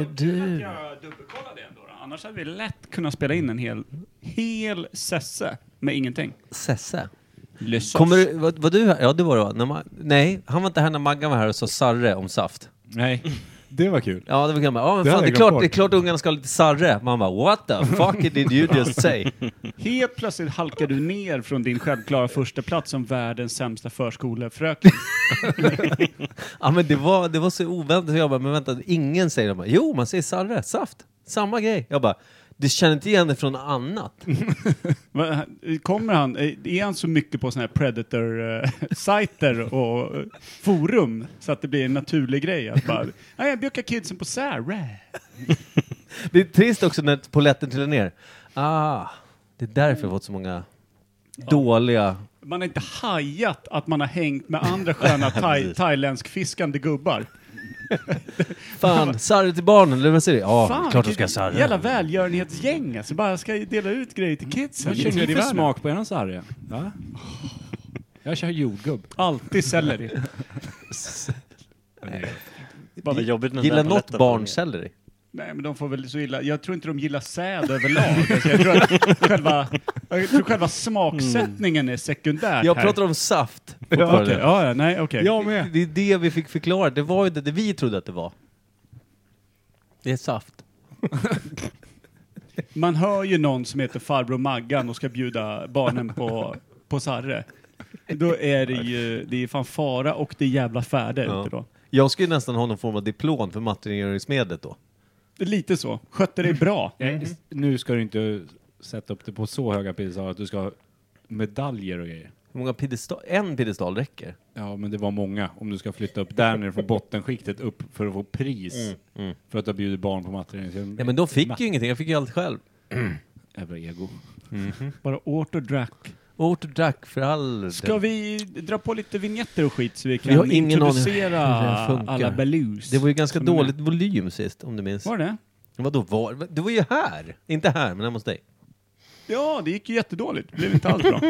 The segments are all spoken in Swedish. Är Kul att du? jag dubbelkollade det ändå. Då. Annars hade vi lätt kunnat spela in en hel, hel sesse med ingenting. Sesse? Lyssas. Kommer du, var, var du här? Ja, det var det va? När Ma- Nej, han var inte här när Maggan var här och sa sarre om saft. Nej. Det var kul. Ja, det var gammalt. Ja, men Det fan, hade det är, jag klart, glömt det är klart ungarna ska ha lite sarre. Man bara, what the fuck did you just say? Helt plötsligt halkar du ner från din självklara första plats som världens sämsta förskolefröken. Ja, men det var, det var så oväntat. Så Jag bara, men vänta, ingen säger det. Jag Bara, jo, man säger sarre, saft. Samma grej. Jag bara, du känner inte igen det från annat? Va- Kommer han, eh, är han så mycket på sådana här predator-sajter och eh, forum så att det blir en naturlig grej att bara, nej jag bjuckar kidsen på Sarah. Det är trist också när polletten trillar ner. Ah, det är därför jag fått så många dåliga... Man har inte hajat att man har hängt med andra sköna thai, thailändsk-fiskande gubbar. Fan, sarre till barnen, eller vad säger du? Ja, klart de ska ha vilket sarre. Jävla välgörenhetsgäng alltså, bara ska dela ut grejer till Mm. kidsen. Vad känner du för smak på eran sarre? Va? Jag kör jordgubb. Alltid selleri. Vad jobbigt med den Gillar där något paletten. barn selleri? Nej men de får väl så illa, jag tror inte de gillar säd överlag. Alltså, jag, tror att själva, jag tror själva smaksättningen är sekundärt Jag här. pratar om saft. Ja, fortfarande. okej. ja, ja, nej, okej. Jag med. Det är det vi fick förklara, det var ju inte det vi trodde att det var. Det är saft. Man hör ju någon som heter farbror Maggan och ska bjuda barnen på, på sarre. Då är det ju, det är fan fara och det är jävla färde ute då. Jag skulle nästan ha någon form av diplom för matterengöringsmedlet då. Det är Lite så. Skötte dig bra. Mm. Mm. Eh, Nu ska du inte sätta upp det på så höga piedestaler att du ska ha medaljer och grejer. Hur många piedestal? En piedestal räcker. Ja, men det var många. Om du ska flytta upp där nere från bottenskiktet upp för att få pris. För att du har bjudit barn på matchen. Mm, Ja, men de fick ju ingenting, jag fick ju allt själv. Jävla ego. Bara åt och drack. Åt och drack för all Ska vi dra på lite vignetter och skit så vi Vi kan har ingen aning introducera hur det här funkar. alla Baloos? Det var ju ganska Som är dåligt volym sist, om du minns. med. Var det Vadå var? Du var ju här! Inte här, men hemma hos dig. Ja, det gick ju jättedåligt. Det blev inte alls bra.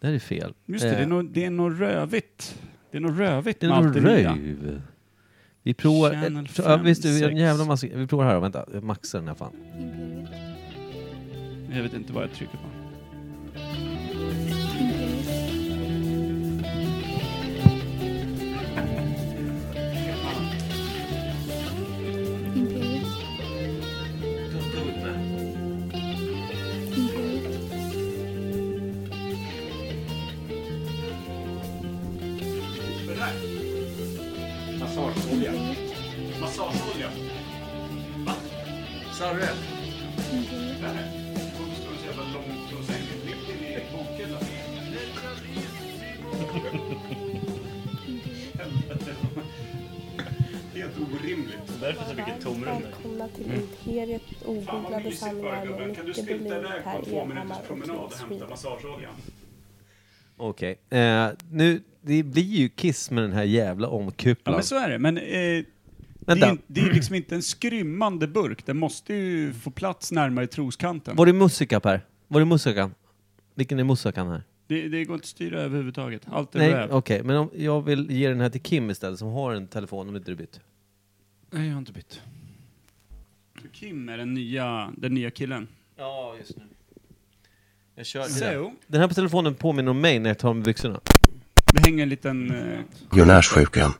Det här är fel. Eh, Just det, det är nog, det är nog rövigt. Det är nog rövigt det med allt är det nog nya. röv. Vi provar... Channel eh, Ja, visst, fem, vi har en sex. jävla massa... Vi provar här då, vänta. Jag maxar den här fan. Jag vet inte vad jag trycker på. Massageolja. Massageolja. Va? Sarre. Där. Kommer stå så jävla långt från sängen. Mitt inne i bokhyllan. Helvete. Helt orimligt. Därför så mycket tomrum. Mm. Välkomna till Imperiet Fan vad ogooglade mysigt bara sanningar gubben. med Kan du Micke sprinta Berlin, iväg på en Per två minuters Evhammar och promenad och Knut hämta Schwider. massageoljan? Okej. Eh, nu... Det blir ju kiss med den här jävla Ja omkupplan. men så är det. Men eh, Det är, vänta. ju- det är liksom inte en skrymmande burk, den måste ju få plats närmare troskanten. Var det musika, Per? Var det musikan? Vilken är musikan här? Det, det går inte att styra överhuvudtaget, allt är Nej, röv. okej. Men om, jag vill ge den här till Kim istället, som har en telefon om inte du bytt. Nej, jag har inte bytt. Kim är den nya, den nya killen. Ja, just nu. Jag kör. Så, Den här på telefonen påminner om mig när jag tar av mig byxorna. det hänger en liten... Eh, Gionärssjukan.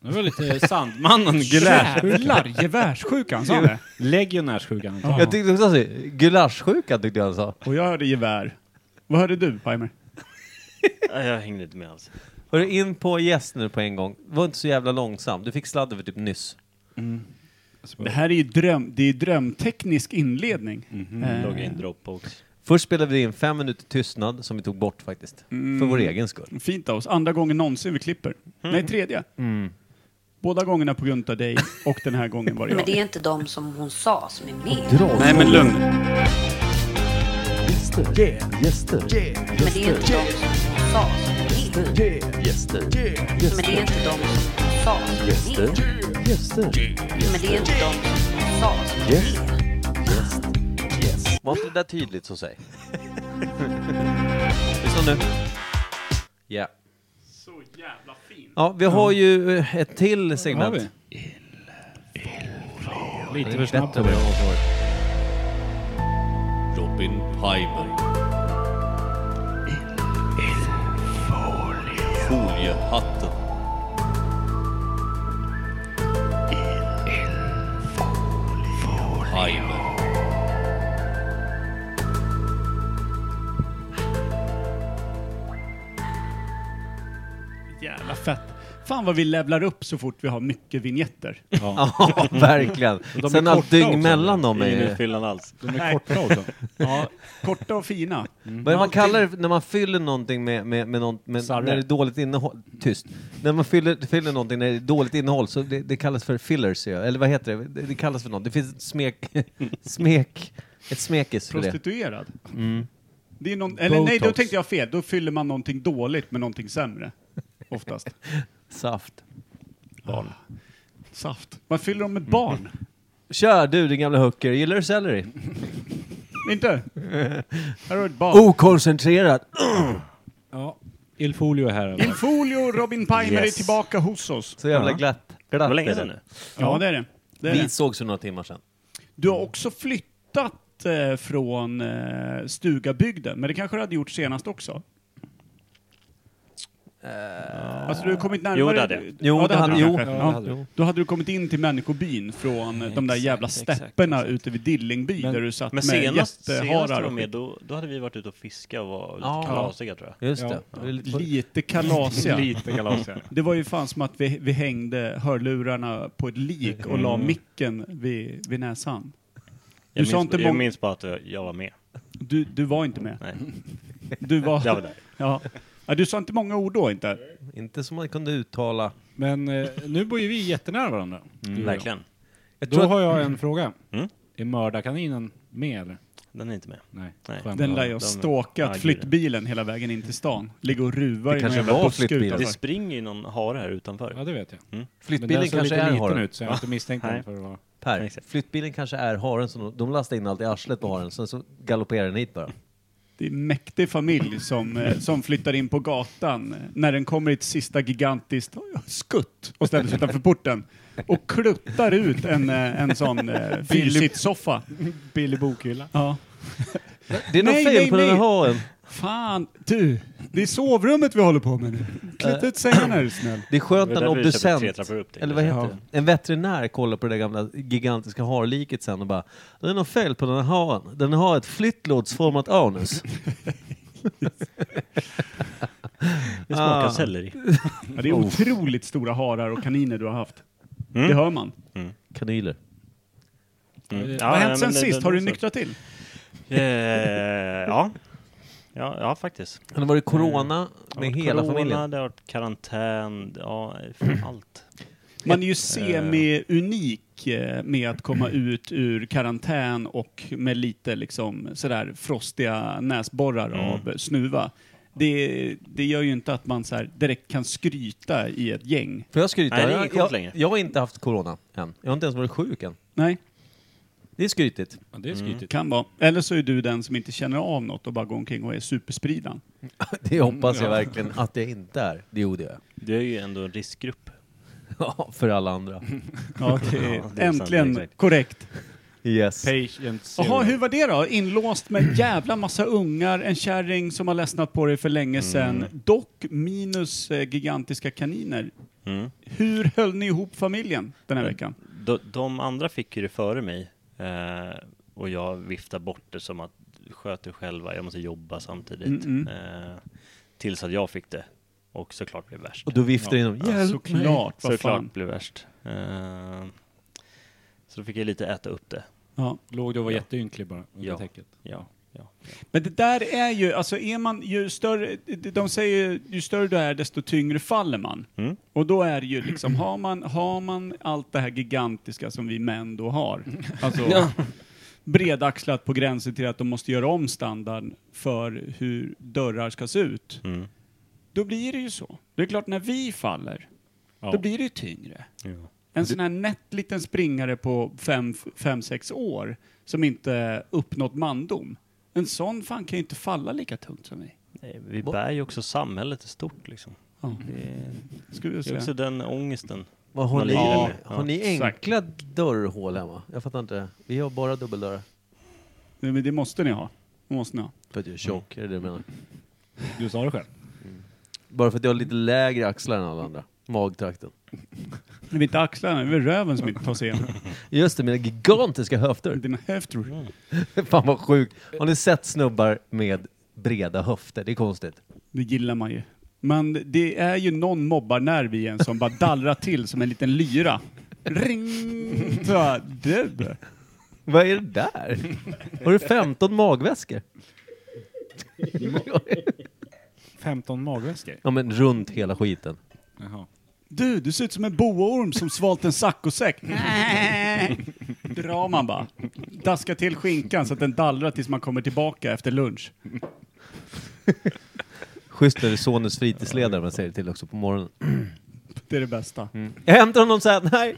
Det var lite Sandmannen. jävlar, gevärssjukan sa han det. Legionärssjukan. antar Jag tyckte också att gulaschsjuka tyckte jag han sa. Och jag hörde gevär. Vad hörde du, Pajmer? Nej, jag hängde inte med alls. Hörru, in på gäst nu på en gång. Var inte så jävla långsam. Du fick sladd över typ nyss. Det här är ju dröm, det är drömteknisk inledning. Mm-hmm, Eh, Logga in Dropbox. Först spelade vi in fem minuter tystnad som vi tog bort faktiskt. För vår egen skull. Fint av oss, andra gången någonsin vi klipper. Mm. Nej, tredje. Båda gångerna på grund av dig och den här gången var det Men det jag. är inte de som hon sa som är med. Nej men lugn. Men det är inte de som hon sa som är med. Men det är inte de som hon sa som är med. Men det är inte de som hon sa som är med. Var inte det där tydligt så säg? Lyssna nu. Ja. Så jävla fin. Ja, vi har ju eh, ett till segment. vi? Lite Det är för snabbt bättre har jag med- varit. Robin Piper. Foliehatten. Piper. Jävla fett. Fan vad vi levlar upp så fort vi har mycket vignetter. Ja. Ja, verkligen. är Sen korta allt också, dygn mellan dem är Ingen ju... fyllan alls. De är korta också. Ja, korta och fina. Vad är det man kallar det när man fyller någonting med, med, med, någon, med Sarre. när det är dåligt innehåll? Tyst. När man fyller, fyller någonting när det är dåligt innehåll, så det, det kallas för fillers, ser jag. eller vad heter det? det? Det kallas för något. Det finns ett smek... smek ett smekis för det. Prostituerad. Det är någon, eller nej, då Botox. tänkte jag fel. Då fyller man någonting dåligt med någonting sämre. Oftast. Saft. Barn. Saft. Man fyller dem med barn. Kör du din gamla hooker, gillar du selleri? Inte? Här har du ett barn. Oh! Okoncentrerat! Ja. Il Folio är här. eller? Folio Robin Pimer Yes. är tillbaka hos oss. Så jävla glatt. glatt Det var länge är det. sedan nu. Ja, det är det. det, är Vi det. sågs för några timmar sedan. Du har också flyttat eh, från eh, stugabygden, men det kanske du hade gjort senast också? alltså du har kommit närmare... Jo, det hade jag. Jo, det hade- du jo, kanske. ja, det Ja. hade du. Då hade du kommit in till människobyn från eh, de där jävla stäpperna ute vid Dillingby Men- där du satt Men med senast, senast jätteharar var och med, skit. då, då hade vi varit ute och fiska och var lite Ja. kalasiga tror jag. Just Ja. det. det. är lite- Lite kalasiga. Lite kalas här. Det var ju fan som att vi, vi hängde hörlurarna på ett lik och la micken vid, vid näsan. Jag, Du sa minns, inte jag mång- minns bara att jag jag var med. Du, du var inte med. Nej. mm, Du var... Jag var där. Ja. ja. Du sa inte många ord då inte? Inte som man kunde uttala. Men eh, nu bor ju vi jättenära varandra. Du och jag. Verkligen. Jag Då tror att har jag en fråga. Mm. Är mördarkaninen med eller? Den är inte med. Nej. Nej. Skämt. Den lär de- jag stalkat ja, flyttbilen hela vägen in till stan. Ligger och ruvar Det i någon kanske jävla alltså. var buske flyttbilen. Det utanför. springer ju någon hare här utanför. Ja, det vet jag. Men flyttbilen den såg kanske lite är liten haren. ut så jag har inte misstänkt den för att vara... Per, Exakt. flyttbilen kanske är haren som de, de lastar in allt i arslet på haren, sen så galopperar den hit bara. Det är en mäktig familj som, eh, som flyttar in på gatan eh, när den kommer i ett sista gigantiskt skutt och ställer sig utanför porten och kluttar ut en, eh, en sån eh, fyrsitssoffa. Billy bokhylla. Ja. Det är något Nej, fel nej, på den nej. här haren. Fan, du! Det är sovrummet vi håller på med nu. Klättra ut sängen är du snäll. Det är skönt Det när var en därför vi köpte obducent, tre trappor upp, tänkte eller vad jag. heter det? En veterinär kollar på det där gamla gigantiska harliket sen och bara Det är något fel på den här haren. Den har ett flyttlådsformat anus. Det smakar Ah. selleri. Mm. Ja, det är otroligt stora harar och kaniner du har haft. Det hör man. Kanyler. Mm. Vad Ja, Vad har men hänt sen det- sist? det- Har du det- nyktrat till? Eh, ja. ja, ja faktiskt. Men det var det Mm. corona med Det har varit hela corona, familjen. Det har varit karantän, ja, för allt. Man Eh. är ju semi-unik eh, med att komma ut ur karantän och med lite liksom sådär frostiga näsborrar Mm. av snuva. Det, det gör ju inte att man så här direkt kan skryta i ett gäng. Får jag skryta? Nej, det är ingen jag, kort jag, längre. jag har inte haft corona än. Jag har inte ens varit sjuk än. Nej, Det är skrytigt. Ja, det är skrytigt. kan vara. Eller så är du den som inte känner av något och bara går omkring och är superspridan. Det Mm, hoppas jag verkligen att jag inte är. Det gjorde jag. Det är ju ändå en riskgrupp. Ja, för alla andra. Ja, det är Ja, det är sant, äntligen exakt. korrekt. Yes. Patient zero. Jaha, hur var det då? Inlåst med en jävla massa ungar, en kärring som har ledsnat på dig för länge sedan, dock minus eh, gigantiska kaniner. Mm. Hur höll ni ihop familjen den här veckan? De, de andra fick ju det före mig eh, och jag viftade bort det som att sköt er själva, jag måste jobba samtidigt. Mm, Eh, tills att jag fick det. Och såklart blev det värst. Och då viftar det in dem. Ja, Hjälp mig! såklart, vad såklart fan. blev det värst. Eh, så då fick jag lite äta upp det. Ja. Låg du och var jätteynklig bara under Ja. täcket? Ja, ja. Men det där är ju, alltså är man ju större, de säger ju, ju större du är desto tyngre faller man. Mm. Och då är det ju liksom, har man, har man allt det här gigantiska som vi män då har, alltså bredaxlat på gränsen till att de måste göra om standarden för hur dörrar ska se ut, Mm. då blir det ju så. Det är klart när vi faller, då blir det ju tyngre. Ja. En sån här nätt liten springare på 5-6 år som inte uppnått mandom. En sån fan kan ju inte falla lika tungt som vi. Nej, Eh, Vi bär ju också samhället i stort liksom. Ja, Det är, skulle jag det är också säga. den ångesten. Vad har, Man ni, lirar Ja, med. har ni exakt. enkla dörrhål hemma? Jag fattar inte. Vi har bara dubbeldörrar. Nej, men det måste ni ha. Det måste ni ha. För att jag är Mm. tjock, är det det du menar? Du sa det själv. Bara för att jag har lite lägre axlar än alla andra. Mm. Magtrakten. Det är inte axlarna, det är röven som inte tar sig igenom. Just det, mina gigantiska höfter. Dina höfter. Mm. Fan vad sjukt. Har ni sett snubbar med breda höfter? Det är konstigt. Det gillar man ju. Men det är ju någon mobbarnerv i en som bara dallrar till som en liten lyra. Ring! Så bara, du! Vad är det där? Har du 15 magväskor? 15 magväskor. Ja men runt hela skiten. Jaha. Du, du ser ut som en boaorm som svalt en saccosäck. Drar man bara. Daskar till skinkan så att den dallrar tills man kommer tillbaka efter lunch. Schysst när det är sonens fritidsledare man säger det till också på morgonen. Det är det bästa. Mm. Mm, Jag hämtar honom sen, nej!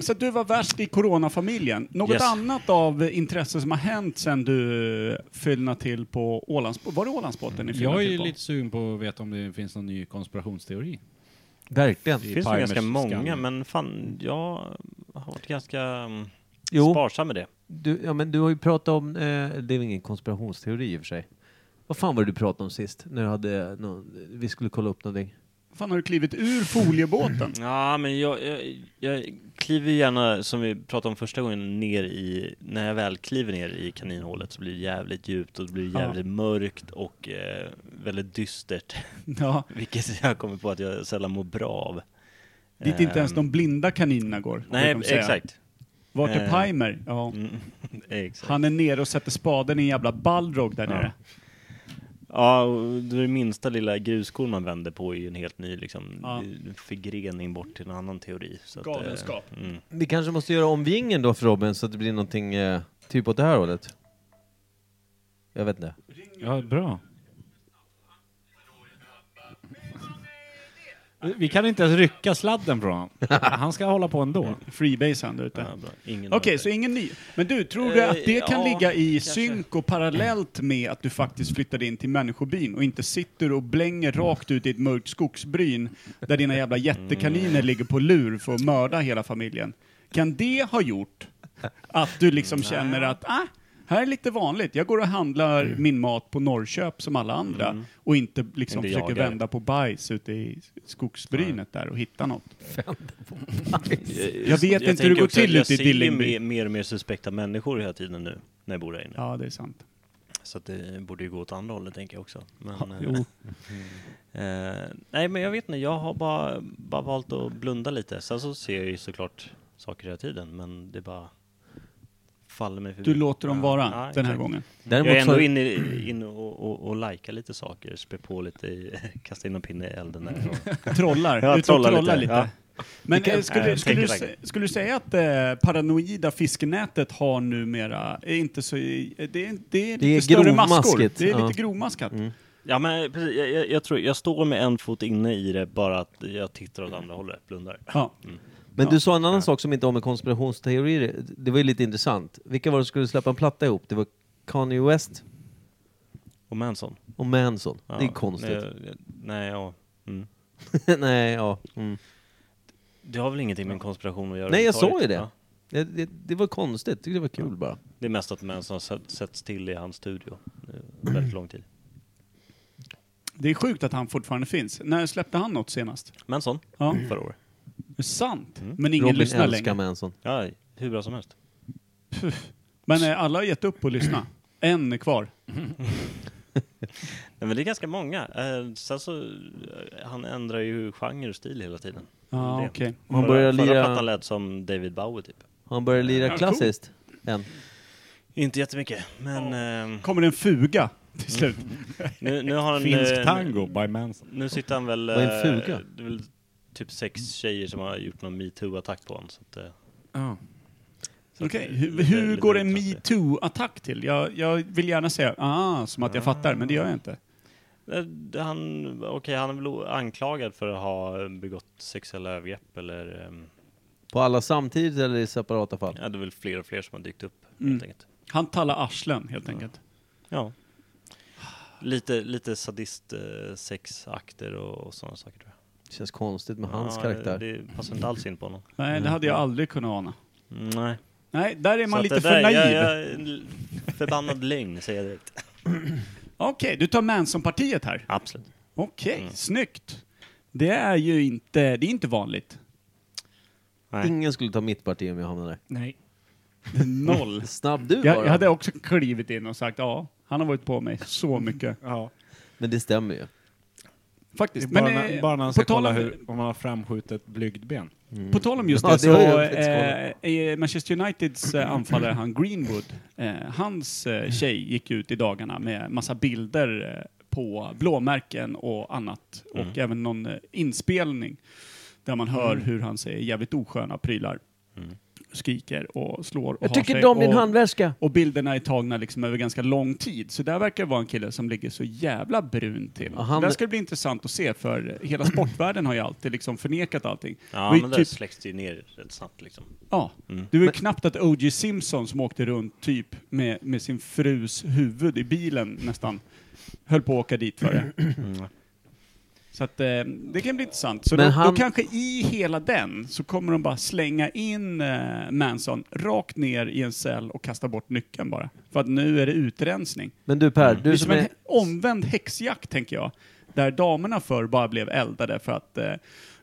Så att du var värst i coronafamiljen. Något Yes. annat av intresse som har hänt sen du fyllnade till på Ålandsbåten? Var det Ålandsbåten Mm. ni fyllnade Jag är till ju på? lite sugen på att veta om det finns någon ny konspirationsteori. Verkligen. Det finns nog ganska Palmers många, skam. men fan, jag har varit ganska mm, Jo, sparsam med det. du, ja, men du har ju pratat om, eh, det är väl ingen konspirationsteori i och för sig. Vad fan var det du pratade om sist? När du hade, nå- vi skulle kolla upp någonting. Fan, har du klivit ur foliebåten? Ja, men jag, jag, jag kliver ju gärna, som vi pratade om första gången, ner i... När jag väl kliver ner i kaninhålet så blir det jävligt djupt och det blir Ja. jävligt mörkt och eh, väldigt dystert. Ja, Vilket jag kommer på att jag sällan mår bra av. dit inte ens Ehm, de blinda kaninerna går. Nej, brukar de säga. exakt. Vart är Eh. Pimer? Ja. Mm, exakt. Han är nere och sätter spaden i en jävla balrog där nere. Ja, och det är det minsta lilla gruskorn man vänder på är ju en helt ny liksom, Ja. förgrening bort till en annan teori. Så att, eh, Galenskap. mm. Vi kanske måste göra om vingen då för Robin så att det blir någonting eh, typ åt det här hållet. Jag vet inte. Ja, bra. Vi kan inte ens rycka sladden från honom. Han ska hålla på ändå. Freebase han där ute. Ja, bra. Ingen Okej, aning. så ingen ny. Men du, tror du att det Eh, kan ja, ligga i kanske. synk och parallellt med att du faktiskt flyttade in till människobyn och inte sitter och blänger rakt ut i ett mörkt skogsbryn där dina jävla jättekaniner Mm. ligger på lur för att mörda hela familjen? Kan det ha gjort att du liksom känner att ah, här är lite vanligt, jag går och handlar Mm. min mat på Norrköp som alla andra och inte liksom Inte försöker jagar. vända på bajs ute i skogsbrynet där och hitta något? Jag, vet inte hur det tänker går också att till ute i Jag ser ju Dillingby. mer, mer och mer suspekta människor hela tiden nu, när jag bor där inne. Ja, det är sant. Så att det borde ju gå åt andra hållet, tänker jag också. Men, Ja, eh, jo. eh, nej, men jag vet inte. Jag har bara, bara valt att blunda lite. Sen så ser jag ju såklart saker hela tiden, men det bara faller mig förbi. Du låter dem vara Ja, den här exakt. gången. Däremot Jag är så- ändå inne, inne och, och, och likar lite saker, spä på lite, i, kasta in en pinne i elden där. Och, Trollar, Ja, ut och trollar trollar lite, lite. ja. Men eh, skulle, eh, skulle, du, tänker sä- tanken. skulle du säga att eh, paranoida fiskenätet har numera, är inte så, eh, det, är- det är lite är större maskor. grovmaskigt, Det är ja. lite grovmaskat. Mm. ja men precis, jag, jag, jag tror, jag står med en fot inne i det, bara att jag tittar åt andra hållet, blundar. Ja. Men Ja. du sa en annan sak som inte har med konspirationsteorier Det var ju lite intressant. Vilka var det som skulle släppa en platta ihop? Det var Kanye West Och Manson. och Manson. Ja, det är konstigt. men jag- Nej, ja. Mm. Nej, ja. Mm. Det har väl ingenting med en konspiration att göra? Nej, jag sa ju överhuvudtaget, det. va? Det, det. Det var konstigt. Tyckte det var kul bara. Det är mest att Manson har sett- setts till i hans studio eh, väldigt lång tid. Det är sjukt att han fortfarande finns. När släppte han något senast? Manson, Ja. förra året. Det är sant, Mm. men ingen Robin lyssnar älskar längre. Manson. Ja, hur bra som helst. Men eh, alla har gett upp och lyssna. En är kvar. Nej, men det är ganska många. Eh, sen så, eh, han ändrar ju genre och stil hela tiden. Ja, Det. okej. Han Förra- börjar Förra lira- plattan lät som David Bowie typ. Han började lira Ja, cool. klassiskt. Än. Inte jättemycket, men ehm, Kommer en fuga till slut. Mm. nu, nu har han... Finsk eh, tango by Manson. Nu sitter han väl... Vad är en eh, fuga? det är väl typ sex tjejer som har gjort någon metoo-attack på honom. Så att, eh, så att Okej, det är hur, lite- hur lite går en intressant det. metoo-attack till? Jag, jag vill gärna säga ah, som att jag fattar, men det gör jag inte. Eh, det- Han, okej, han är väl o- anklagad för att ha begått sexuella övergrepp eller... ehm, På alla samtidigt eller i separata fall? Ja, det är väl fler och fler som har dykt upp Mm. helt enkelt. Han tallar arslen helt enkelt. Ja. Lite, lite sadist eh, sexakter och, och sådana saker tror jag. känns konstigt med hans Ja, karaktär. Det passar inte alls in på honom. Nej, det hade jag aldrig kunnat ana. Nej. Nej, där är man Så lite att det för där- naiv. Jag, jag, en förbannad lögn, säger jag direkt. Okej, du tar Manson-partiet här. Absolut. Okej, snyggt. Det är ju inte, det är inte vanligt. Nej. Ingen skulle ta mitt parti om jag hamnade där. Nej. Noll. Snabb du Jag, bara. jag hade också klivit in och sagt ja, han har varit på mig så mycket. Ja. Men det stämmer ju. Faktiskt. Bara, Men, när, eh, bara när han på ska tal kolla om- hur, om han har framskjutet blygdben. På tal om just Ja, det, det har så jag faktiskt eh, i Manchester Uniteds eh, anfallare, han Greenwood, eh, hans eh, tjej gick ut i dagarna med massa bilder eh, på blåmärken och annat. Mm. Och även någon eh, inspelning där man hör hur han säger jävligt osköna prylar. Skriker och slår och Mm. Jag har tycker sig inte om din och- handväska. Och bilderna är tagna liksom över ganska lång tid. Så där verkar det vara en kille som ligger så jävla brun till. Ja, han- Det där ska bli intressant att se för hela sportvärlden har ju alltid liksom förnekat allting. Det Ja, var ju men det typ- släcks ju ner rätt snabbt liksom. Ja, det var ju knappt att O.J. Simpson som åkte runt typ med, med sin frus huvud i bilen nästan höll på att åka dit för det. Mm. Så att eh, det kan bli intressant. Så Men då, han- då kanske i hela den så kommer de bara slänga in eh, Manson rakt ner i en cell och kasta bort nyckeln bara. För att nu är det utrensning. Men du Per, du det som är som Liksom en är... hä- omvänd häxjakt tänker jag. Där damerna förr bara blev eldade för att eh,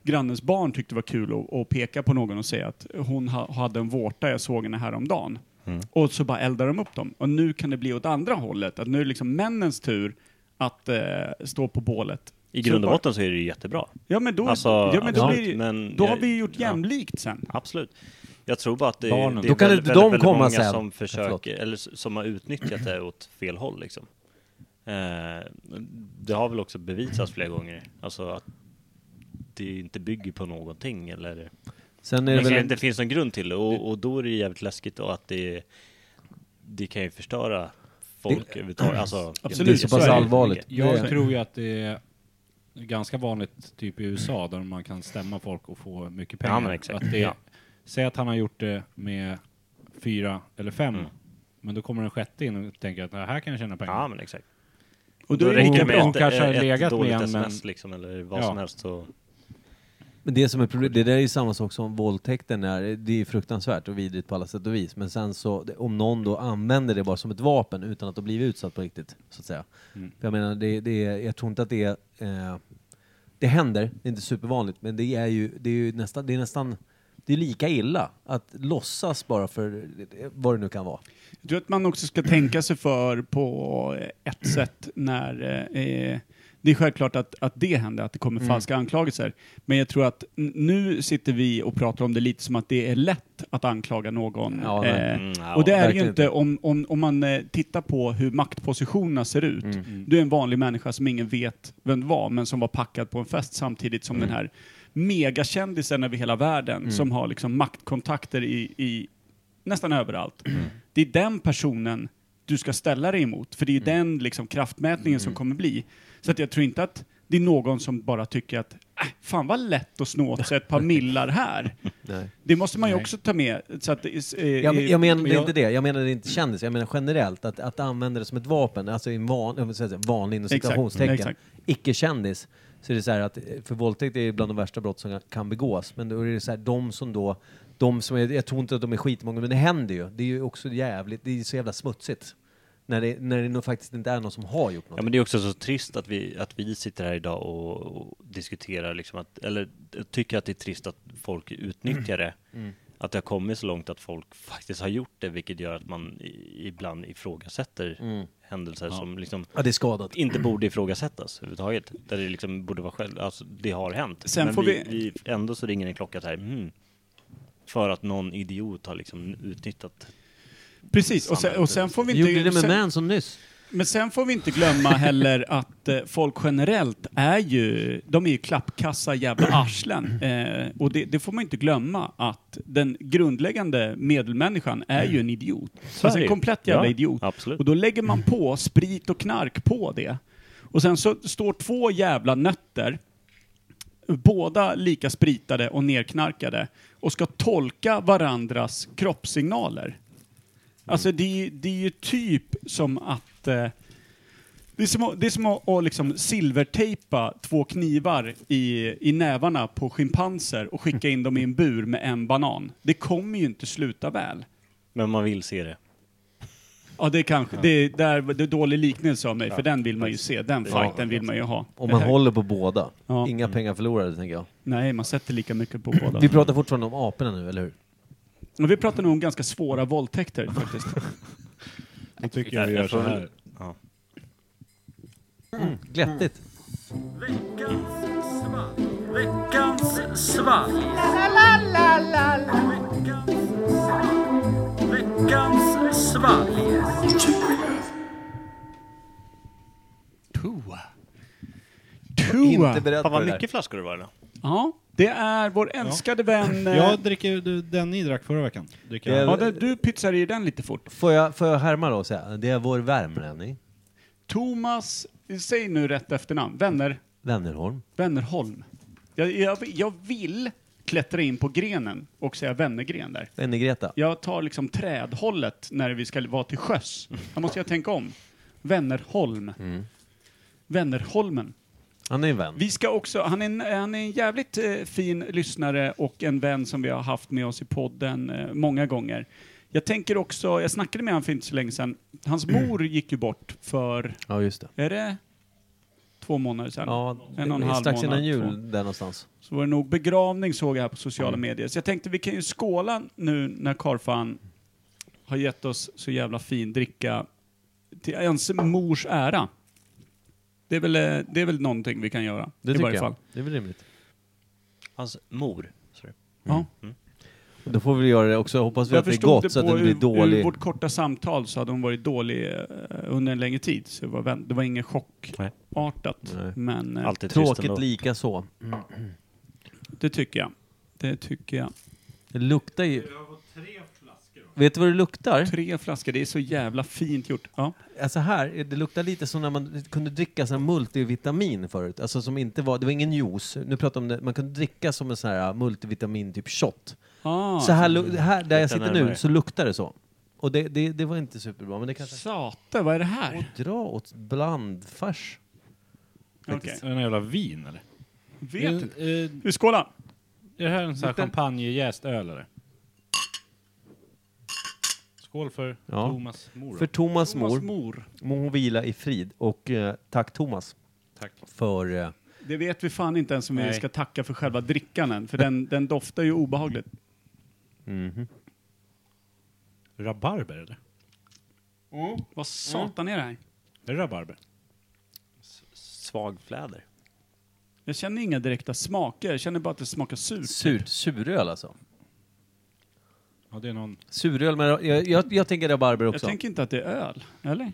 grannens barn tyckte det var kul att, att peka på någon och säga att hon ha, hade en vårta, jag såg henne häromdagen. Mm. Och så bara eldar de upp dem. Och nu kan det bli åt andra hållet, att nu är det liksom männens tur att eh, stå på bålet. I Så grund och bara- botten så är det ju jättebra. Ja men då, Alltså, ja, men då, absolut, blir, det ju- men då jag- har vi ju gjort ja. jämlikt sen. Absolut. Jag tror bara att det, det är Barnen. väldigt, Då kan inte väldigt, de väldigt komma många sen. som Förlåt. försöker, eller s- som har utnyttjat det åt fel håll liksom. Eh, det har väl också bevisats flera gånger, alltså att det inte bygger på någonting eller Sen är det, det det väl... inte finns någon grund till det och, och då är det jävligt läskigt och att det, det kan ju förstöra folk överhuvudtaget. Alltså, Absolut, Det är så så pass är det. allvarligt. Jag Det- tror ju att det är ganska vanligt typ i USA där man kan stämma folk och få mycket pengar. Ja, men exakt. Att det, Ja. Säg att han har gjort det med fyra eller fem. Mm. Men då kommer den sjätte in och tänker att "Det här kan jag tjäna pengar. Ja men exakt. Och Då då är det räcker det inte hon- med bra. ett, kanske har ett, legat med dåligt en, men- sms liksom eller vad Ja. som helst så Men det som är problemet, det där är ju samma sak som våldtäkten är. Det är ju fruktansvärt och vidrigt på alla sätt och vis. Men sen så, det- om någon då använder det bara som ett vapen utan att ha blivit utsatt på riktigt, så att säga. För jag menar, det, det är, jag tror inte att det är... Eh, det händer, det är inte supervanligt, men det är ju, det är ju nästan, det är nästan, det är lika illa att låtsas bara för vad det nu kan vara. Jag tror att man också ska tänka sig för på eh, ett sätt när eh, det är självklart att, att det händer, att det Mm. kommer falska anklagelser. Men jag tror att n- nu sitter vi och pratar om det lite som att det är lätt att anklaga någon. Ja, eh, nej. Mm, ja, och det är det ju verkligen inte om, om, om man eh, tittar på hur maktpositionerna ser ut. Mm. Du är en vanlig människa som ingen vet vem det var, men som var packad på en fest samtidigt som den här megakändisen över hela världen som har liksom maktkontakter i, i nästan överallt. Det är den personen du ska ställa dig emot, för det är ju den liksom kraftmätningen som kommer bli. Så att jag tror inte att det är någon som bara tycker att äh, fan vad lätt att snå åt sig ett par millar här. Det måste man ju också ta med. Så att, eh, Jag, jag menade men jag- inte det, jag menade inte kändis, jag menar generellt att, att använda det som ett vapen, alltså i en van, jag vill säga, vanlig inom Exakt, citationstecken, exakt. icke-kändis, så är det så här att, eh, för våldtäkt är bland de värsta brott som kan begås, men då är det så här, de som då, de som är, jag tror inte att de är skitmånga, men det händer ju, det är ju också jävligt, det är ju så jävla smutsigt. När det, när det nog faktiskt inte är någon som har gjort något. Ja men det är också så trist att vi, att vi sitter här idag och, och diskuterar liksom att, eller tycker att det är trist att folk utnyttjar det. Att det har kommit så långt att folk faktiskt har gjort det, vilket gör att man i, ibland ifrågasätter händelser som liksom ja, det är skadat. inte borde ifrågasättas överhuvudtaget. Där det liksom borde vara själv, alltså det har hänt. Sen Men får vi, vi- vi, ändå så ringer en klocka så här, mm. För att någon idiot har liksom utnyttjat Precis, och sen, och sen får vi Vi inte... gjorde det med sen, Manson nyss. Men sen får vi inte glömma heller att eh, folk generellt är ju, de är ju klappkassa jävla arslen. Eh, och det, det får man inte glömma att den grundläggande medelmänniskan är ju en idiot. Så är Alltså det ju. en komplett jävla Ja, idiot. absolut. Och då lägger man på sprit och knark på det. Och sen så står två jävla nötter båda lika spritade och nerknarkade och ska tolka varandras Mm. kroppssignaler. Alltså det, är ju- det är ju typ som att eh, Det är som att, det är som att, att liksom silvertejpa två knivar i, i nävarna på schimpanser och skicka in dem i en bur med en banan. Det kommer ju inte sluta väl. Men man vill se det. Ja, det kanske. Det, är- där, det är dålig liknelse av mig, för den vill man ju se. Den fighten vill man ju ha. Om Det man här- håller på båda. Ja. Inga pengar förlorade, tänker jag. Nej, man sätter lika mycket på båda. Vi pratar fortfarande om aporna nu, eller hur? Men vi pratar nog om ganska svåra våldtäkter faktiskt. Då tycker jag vi gör så här. Glättigt. Tua. Tua. beredd Fan vad mycket flaskor det var idag. Ja, det är vår älskade vän... eh, Jag dricker ju du- den ni drack förra veckan. Dricker Det- jag. ja, det, du pytsar i den lite fort. Får jag, får jag härma då och säga, det är vår värmlänning, Thomas, säg nu rätt efternamn. Vänner, Wennerholm. Vännerholm. Jag, jag, jag vill klättra in på grenen och säga Vännergren där. Wenner-Greta. Jag tar liksom trädhållet när vi ska vara till sjöss. Då måste jag tänka om. Vännerholm. Vännerholmen. Han är en vän. Vi ska också, han är en, han är en jävligt eh, fin lyssnare och en vän som vi har haft med oss i podden eh, många gånger. Jag tänker också, jag snackade med honom för inte så länge sedan. Hans mor gick ju bort för, Ja, just det. är det två månader sedan? Ja, en och en halv strax innan månad, jul, två. där någonstans. Så var det nog begravning såg jag här på sociala Mm. medier. Så jag tänkte vi kan ju skåla nu när Karfan har gett oss så jävla fin dricka till ens mors ära. Det är väl, eh, det är väl någonting vi kan göra. Det i tycker varje jag. fall. Det är väl rimligt. Hans mor. sorry. Ja. Då får vi göra det också. Jag hoppas vi Mm. Jag att det är förstod gott det så att på det blir ur, ur dålig. vårt korta samtal så hade hon varit dålig eh, under en längre tid. Så det var, vänt- det var ingen Nej. chockartat. Nej. Men eh, Alltid trist Tråkigt ändå. lika så. det tycker jag. Det tycker jag. Det luktar ju... Vet du vad det luktar? Tre flaskor, det är så jävla fint gjort. Ja. Alltså här, det luktar lite som när man kunde dricka sån här multivitamin förut. Alltså som inte var, det var ingen juice. Nu pratar jag om det, man kunde dricka som en sån här multivitamin typ shot. Ah, Så här, lu- här där jag Lite sitter nu närmare. så luktar det så. Och det, det, det var inte superbra men det kanske... Sate, vad är det här? Dra åt blandfars. Okej. Är det någon jävla vin eller? Vet inte. Eh, eh, Vi skålar! Är det här en sån här champagnejäst öl eller? Skål för Ja. Thomas mor. För Thomas Thomas mor, mor. må hon vila i frid. Och eh, tack Thomas Tack. för... Eh, Det vet vi fan inte ens om vi Nej. ska tacka för själva drickan än, för den, den doftar ju obehagligt. Rabarber eller? Vad satan är det här? Är det rabarber? Svagfläder. Jag känner inga direkta smaker, jag känner bara att det smakar surt. surt, suröl alltså. Ja, det är någon... Suröl med... Jag, jag, jag tänker rabarber Jag också. tänker inte att det är öl, eller?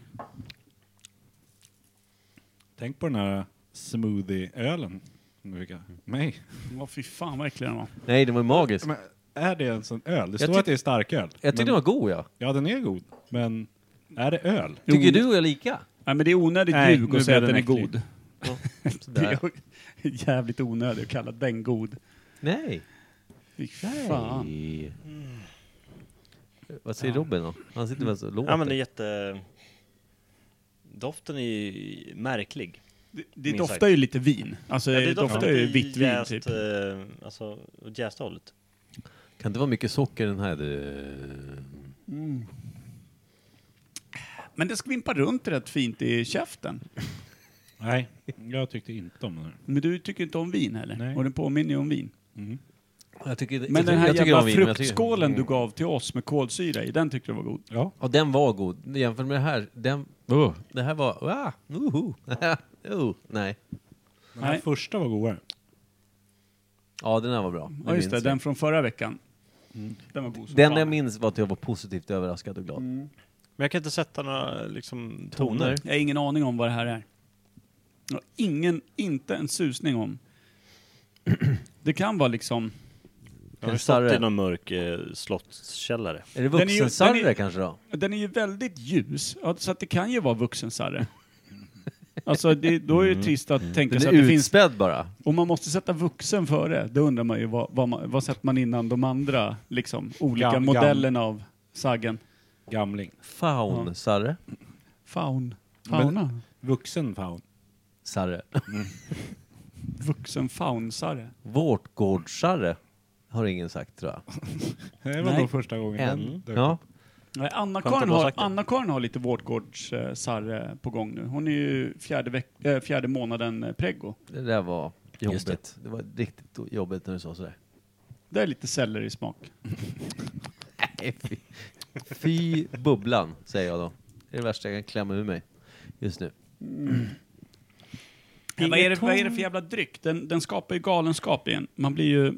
Tänk på den här smoothie-ölen. som du fick av Mig. Åh fy fan vad äcklig den var. Nej, det var ju magiskt. Men är det en sån öl? Jag Det står tyck- att det är starköl. Jag tyckte men... den var god ja. Ja, den är god. Men är det öl? Tycker du och jag lika? Nej men det är onödigt Nej, ljug nu att säga att blev den är den äcklig. god. Det Sådär. är jävligt onödigt att kalla den god. Nej. Fy fan. Vad säger Robin då? Han sitter mest och låter. Ja men det är jätte... Doften är ju märklig. Det, det Minst doftar ju lite vin. Alltså Ja, det doftar ju i vitt vin jäst, typ. eh, Alltså, åt jästa hållet. Kan det vara mycket socker i den här? eh, Men det skvimpar runt rätt fint i käften. Nej, jag tyckte inte om den här. Men du tycker inte om vin heller? Nej. Och den påminner ju om vin. Jag tycker, Men den här jävla fruktskålen Mm. du gav till oss med kolsyra i, den tyckte du var god. Ja. Ja, den var god. Jämfört med det här. Den, Det här var... Ah, uhu. oh, nej. Den här Nej. första var godare. Ja, den här var bra. Ja just det, minns den jag. Mm. från förra veckan. Den Mm. var god som den fan. jag minns var att jag var positivt överraskad och glad. Men jag kan inte sätta några liksom, Toner. toner. Jag har ingen aning om vad det här är. Jag har ingen, inte en susning om. Det kan vara liksom... Jag har En stått sarre. i någon mörk eh, slottskällare. Är det Den är ju- vuxensarre den är- kanske då? Den är ju väldigt ljus, ja, så att det kan ju vara vuxensarre. Alltså det, då är det trist att tänka Den sig är att det finns... utspädd bara. Om man måste sätta vuxen före, då undrar man ju vad, vad, man, vad sätter man innan de andra liksom, olika Gam- gam. modellerna av saggen. Gamling. Faun-sarre. Faun. Fauna. Vuxen faun. Sarre. Vuxen faunsare. Vårtgårdsarre har ingen sagt tror jag. Det var Nej. nog första gången Mm. den Än. dök Ja. Nej, Skönt att Anna-Karin du har har, sagt det. Anna-Karin har lite vårtgårdssarre på gång nu. Hon är ju fjärde, veck- eh, fjärde månaden eh, preggo. Det där var Just jobbigt. Det var riktigt jobbigt när du sa sådär. Det är lite selleri smak. Fy. Fy bubblan, säger jag då. Det är det värsta jag kan klämma ur mig just nu. Men vad, är det, vad är det för jävla dryck? Den, den skapar ju galenskap igen. Man blir ju...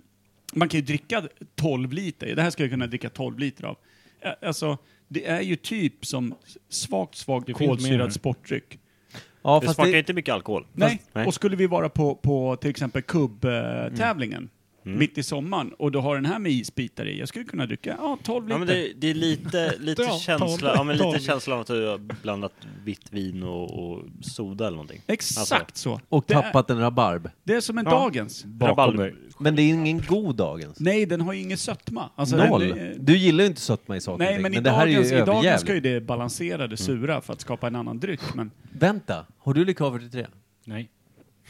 Man kan ju dricka 12 liter. Det här ska jag kunna dricka 12 liter av. Ä- Alltså, det är ju typ som svagt, svagt finns mer här. kolsyrad sportdryck. Ja, det fast smakar det, inte mycket alkohol. Nej. Fast- nej. Och skulle vi vara på, på till exempel kubbtävlingen Mm. mitt i sommaren och du har den här med isbitar i. Jag skulle kunna dricka ja, 12 liter. Ja, men det, det är lite, lite, Ja, känsla, tolv. ja, men lite Tolv. känsla av att du har blandat vitt vin och, och soda eller någonting. Exakt Alltså. så. och det, är, tappat en rabarb. det är som en dagens. bakom dig. Men det är ingen god dagens. Nej, den har ju ingen sötma. Alltså, Noll. den- eh, Du gillar ju inte sötma i saker och Nej, ting, men, i det här är ju dagens, i dagens ska ju överjävligt. Mm. det balanserade sura för att skapa en annan dryck. Men Vänta, har du likör 43? Nej,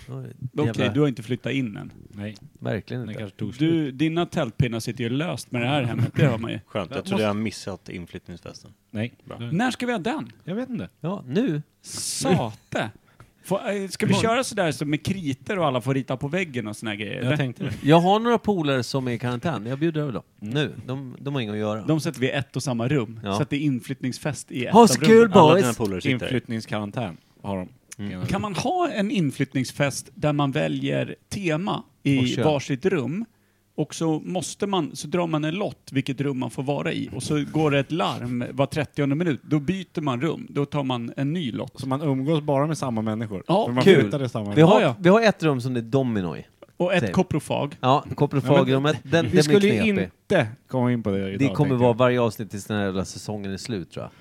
Oj, okej, jävla- du har inte flyttat in än. nej. Verkligen Den inte. kanske tog slut. Du, dina tältpinnar sitter ju löst med det här hemmet, det hör man ju. Skönt, jag trodde jag missat inflyttningsfesten. Nej. När ska vi ha den? Jag vet inte. Ja, nu. Sate! Får, eh, ska vi köra sådär som med kriter och alla får rita på väggen och såna här grejer? eller? Jag tänkte det. Jag har några polare som är i karantän. Jag bjuder över dem. Nu. De, de har inget att göra. Mm. De sätter vi i ett och samma rum, Ja. så att det är inflyttningsfest i ett Ha av skul rummen. Alla boys! dina polare sitter i. Inflyttningskarantän har de. Ena Kan man ha en inflyttningsfest där man väljer tema Och i kön. varsitt rum och så måste man, så drar man en lott vilket rum man får vara i och så går det ett larm var 30 minut. Då byter man rum, då tar man en ny lott. Så man umgås bara med samma människor? Ja, För man kul. flyttade samma Vi Ja, ja. har, vi har ett rum som det är domino i. Och Säg. ett koprofag. Ja, koprofagrummet. Den, Vi den blir skulle ju knepig. inte komma in på det idag. Det kommer tänkte vara jag. varje avsnitt tills den här jävla säsongen är slut tror jag.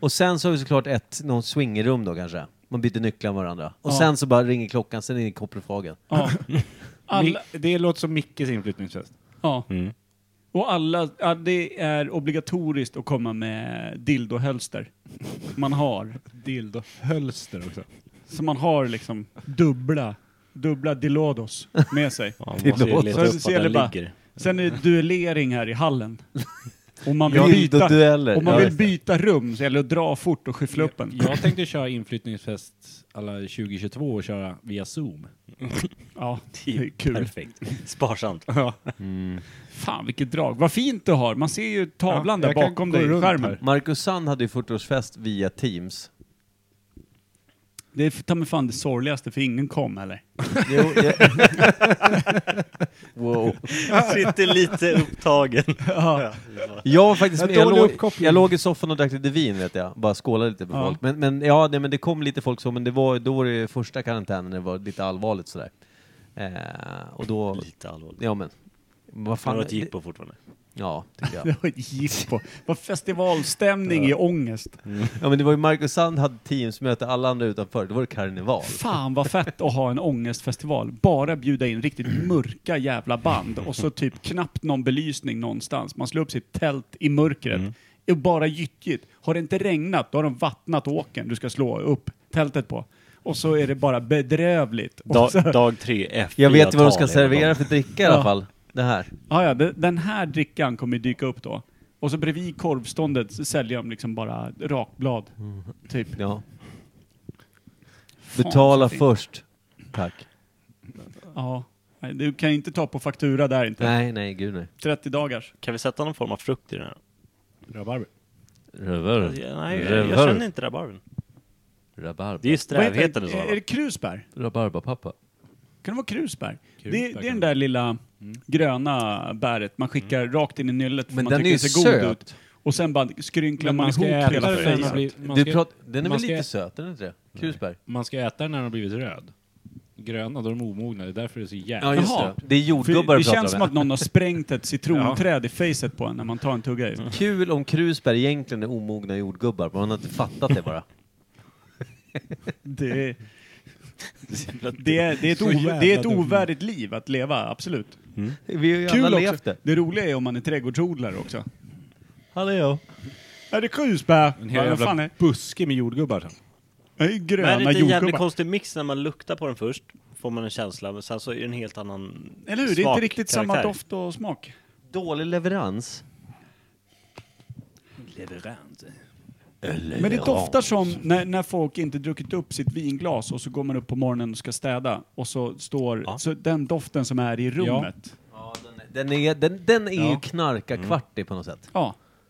Och sen så har vi såklart ett, någon swingerrum då kanske. Man byter nycklar med varandra. Och Ja. sen så bara ringer klockan, sen är det koprofagen. Ja. Alla, Mi- Det låter som Mickes inflyttningsfest. ja. Och alla, ja, det är obligatoriskt att komma med dildohölster. Man har. Dildo-hölster också. Så man har liksom dubbla, dubbla dilodos med sig. Ja, man måste ju låter- leta Så upp ser var det den bara- ligger. Sen är det duellering här i hallen. Om man vill Ja, byta, dueller. om man Ja, vill just det. byta rum så gäller det att dra fort och skyffla upp en. Jag tänkte köra inflyttningsfest alla 2022 och köra via Zoom. Ja, det är kul. typ. Perfekt. Sparsamt. Fan vilket drag. Vad fint du har. Man ser ju tavlan Ja, där jag kan bakom gå dig i runt skärmen. här. Marcus Sand hade ju 40-årsfest via Teams. Det är ta mig fan det sorgligaste för ingen kom heller. Jo, jag... wow. Sitter lite upptagen. Jag var faktiskt med. Jag, dålig låg, uppkoppling. jag låg i soffan och drack lite vin vet jag. Bara skålade lite med Ja. folk. Men, men ja, nej, men det kom lite folk så, men det var, då var det första karantänen, det var lite allvarligt sådär. Eh, och då... Lite allvarligt. Ja men. Vad Fan, fan... har ett jippo fortfarande. Ja, tycker jag. Det var ett jippo. Vad festivalstämning i ångest. Mm. Ja men det var ju Marcus Sand hade Teams-möte, alla andra utanför, då var det karneval. Fan vad fett att ha en ångestfestival. Bara bjuda in riktigt mörka jävla band och så typ knappt någon belysning någonstans. Man slår upp sitt tält i mörkret. Mm. Det är bara gyttjigt. Har det inte regnat, då har de vattnat åken du ska slå upp tältet på. Och så är det bara bedrövligt. Och Da, så, dag tre, F. Jag vet vad de ska servera för dricka i alla Ja. fall. Det här. ja, ja, de- den här drickan kommer ju dyka upp då. Och så bredvid korvståndet så säljer de liksom bara rakblad. Typ. Mm. Ja. Fan, Betala så fint. först. Tack. Ja. Nej, Du kan ju inte ta på faktura där inte. Nej, nej, gud nej. 30 dagars. Kan vi sätta någon form av frukt i den här? Rabarber. Rövar. Ja, Nej, jag, jag Rövar. känner inte rabarbern. Det är Rabarba. ju strävheten Vad och heter det? Är det sådant. krusbär? Rabarbapappa. Kan det vara krusbär? det, Krusbär det är kan Mm. den det där lilla gröna bäret man skickar Mm. rakt in i nyllet för Men man den är tycker ju det ser god söt. ut. Och sen bara skrynklar Men man, man ska ihop äta hela den när man fejset. blir... Man Du ska, prat, den är väl man ska- lite söt, är den inte det? Krusbär. man ska äta den när den har blivit röd. Gröna, då är de omogna. Det är därför det är så jävla... Ja, just Jaha. det. Det är jordgubbar För det du känns pratar som om. att någon har sprängt ett citronträd i fejset på en när man tar en tugga i. Kul om krusbär egentligen är omogna jordgubbar, men man har inte fattat det bara. Det, är- det, är- det, är ett Så o, jävla det är ett dumt. ovärdigt liv att leva, absolut. Vi har ju Kul alla också. levt det. Det roliga är om man är trädgårdsodlare också. Hallå. Är det krusbär? En Ja, hel vad fan jävla är- buske med jordgubbar. Det är ju Men det gröna är en jävligt jordgubbar. konstig mix när man luktar på den först, får man en känsla, men sen så är det en helt annan Eller hur? Det är smak- inte riktigt samma karaktär. doft och smak. Dålig leverans. Men det doftar som när, när folk inte druckit upp sitt vinglas och så går man upp på morgonen och ska städa och så står så den doften som är i rummet. Ja, Ja, den, den är, den, den är ju Mm. knarkarkvartig på något sätt.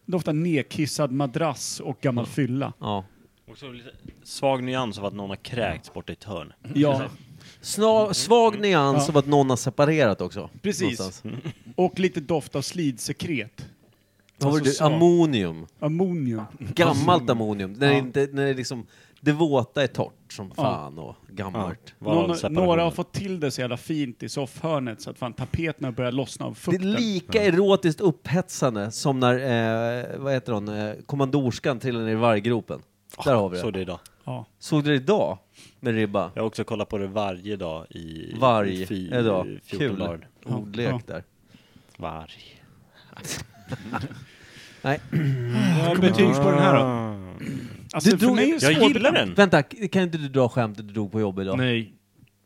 doftar nedkissad madrass och gammal fylla. Ja. Mm. Och så lite svag nyans av att någon har kräkts borta i ett hörn. Ja, Sna, svag nyans Mm. Ja. av att någon har separerat också. Precis. Någonstans. och lite doft av slidsekret. Vad var det? du- Alltså, svag. Ammonium. Ammonium. Gammalt ammonium. När, Ja. det inte, när det liksom, det våta är torrt som fan och gammalt. Varav Någon, separationen. några har fått till det så jävla fint i soffhörnet så att fan tapeterna börjar lossna av Det är fukten. lika erotiskt upphetsande som när, eh, vad heter hon, eh, kommandorskan trillar ner i varggropen. Där har vi Så det. det är idag. ja. Såg du det idag? Med ribba? Jag har också kollat på det varje dag i Varg. i fy- idag. 14 Kul. dagar. Ordlek Ja. där. Varg. Nej. Vad betyg på den här då? Alltså, Du för drog- mig är det Jag svårt- gillar den! Vänta, k- kan inte du dra skämtet du drog på jobbet idag? Nej.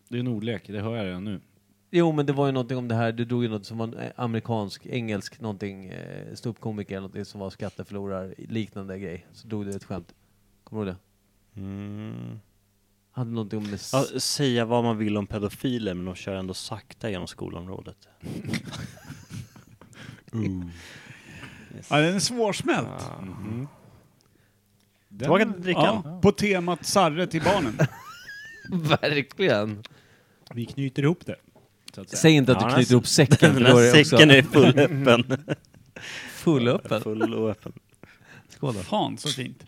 Det är en ordlek, det hör jag redan nu. Jo, men det var ju någonting om det här, du drog ju något som var en, eh, amerikansk, engelsk, någonting, eh, ståuppkomiker eller någonting som var skatteförlorare, liknande grej. Så drog du ett skämt. Kommer du ihåg det? Mm. Hade någonting om... Med... Ja, säga vad man vill om pedofiler men de kör ändå sakta genom skolområdet. Ja, den är svårsmält. Tillbaka till drickan. Ja, på temat Sarre till barnen. Verkligen! Vi knyter ihop det. Så att säga. Säg inte att du Ja, den knyter här- ihop säcken, för Den då är här det också säcken är full öppen. fullöppen. full och öppen. Skål då. Fan så fint.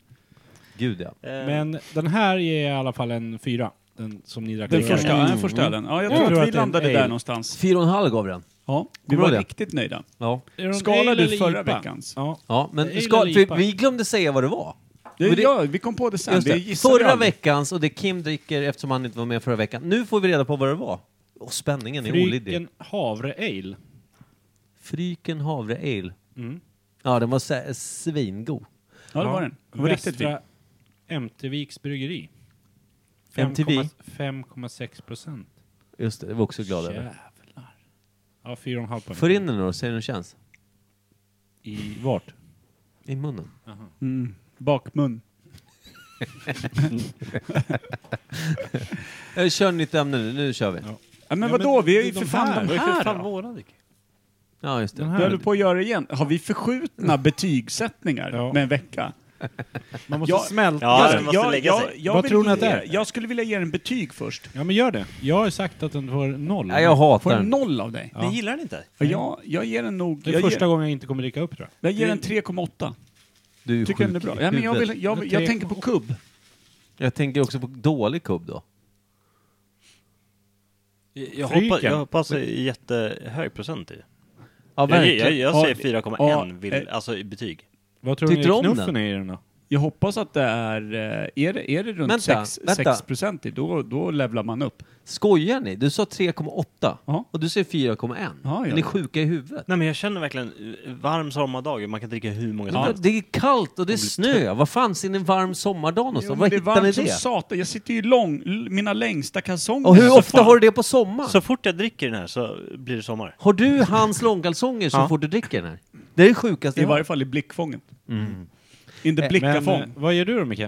Gud ja. Men, Men den här ger jag i alla fall en fyra. Den som ni drack Den tidigare. första, ja, den första ölen. Ja, jag tror tror att vi att det är en landade ale. där någonstans. Fyra och en halv gav den. Ja, vi Kommer var du ihåg riktigt nöjda. Ja. Är det en Skalade ale du eller förra IPA? veckans? Ja. ja Det är men ju ska, lite IPA. för vi glömde säga vad det var. Det, Men det- ja, vi kom på det sen. Just Vi det. gissade Förra aldrig. veckans och det Kim dricker eftersom han inte var med förra veckan. Nu får vi reda på vad det var. Och spänningen är olidlig. Fryken havre ale. Fryken havre ale. Mm. Ja, den var sä- svingod. Ja, det var den. Det var riktigt fint. Västra Ämterviks bryggeri. MTV. 5,6 procent. Just det, det var också glad över. Jävlar. Ja, 4,5 poäng. För in den då, säg hur den känns. I vart? I munnen. Mm. Bakmun. Eh, Kör nytt ämne nu, nu kör vi. Ja, Ja, men vadå, vi är ju för fan Det de är för här fan då. våra drick. just det. Den här. Vi håller på att göra det igen. Har vi förskjutna betygssättningar Ja. med en vecka? Man måste Jag- smälta Ja, det. den måste lägga sig. Vad vill tror ni ge- att det är? Jag skulle vilja ge den betyg först. Ja, men gör det. Jag har sagt att den får noll. Nej, jag hatar Får en den. noll av dig? Ja. gillar den inte? Ja. Jag, jag ger den nog... Det är jag, första ger, gången jag inte kommer dricka upp tror jag. jag ger den 3,8. Du är ju Tycker den är sjuk i bra. Ja, men jag, huvudet. vill, jag, vill- jag tänker på kubb. Jag tänker också på dålig kubb då. Jag Fryken. hoppas, jag hoppas det är jättehög procent i. Ja, Jag, jag, verkligen. jag, Ja, säger ja, 4,1 vill, eh. alltså i betyg. Vad tror Tyckte du ni om knuffen den? är i den då? Jag hoppas att det är... eh, Är det, är det runt Vänta, 6, vänta. 6 procent i, då, då levlar man upp. Skojar ni? Du sa 3,8 Ja. och du säger 4,1. Ja, ja. Är ni sjuka i huvudet? Nej men jag känner verkligen eh, varm sommardag, man kan dricka hur många som Men helst. Det är kallt och det är snö. Vad fan ser ni en varm sommardag någonstans? men Var det är hittar ni varmt som det? satan. Jag sitter ju lång, l- mina längsta kalsonger. Och hur Så ofta fan. har du det på sommaren? Så fort jag dricker den här så blir det sommar. Har du hans långkalsonger så fort du dricker den här? Det är det sjukaste I jag varje har. fall i blickfånget. Inte Men, blickafång. eh, vad gör du då Micke?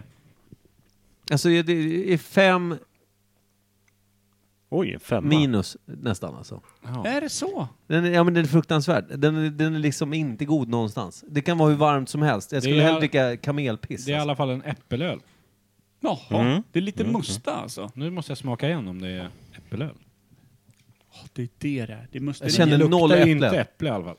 Alltså det det är fem Oj, en femma. minus nästan alltså. Är det så? Den är, ja men den är fruktansvärd. Den är, den är liksom inte god någonstans. Det kan vara hur varmt som helst. Jag skulle är- hellre dricka kamelpiss. Det är i alltså. alla fall en äppelöl. Jaha, Mm. det är lite musta alltså. Nu måste jag smaka igen om det är äppelöl. Åh, det är det där. Det är musta. Jag känner noll Det är inte äpple. äpple i alla fall.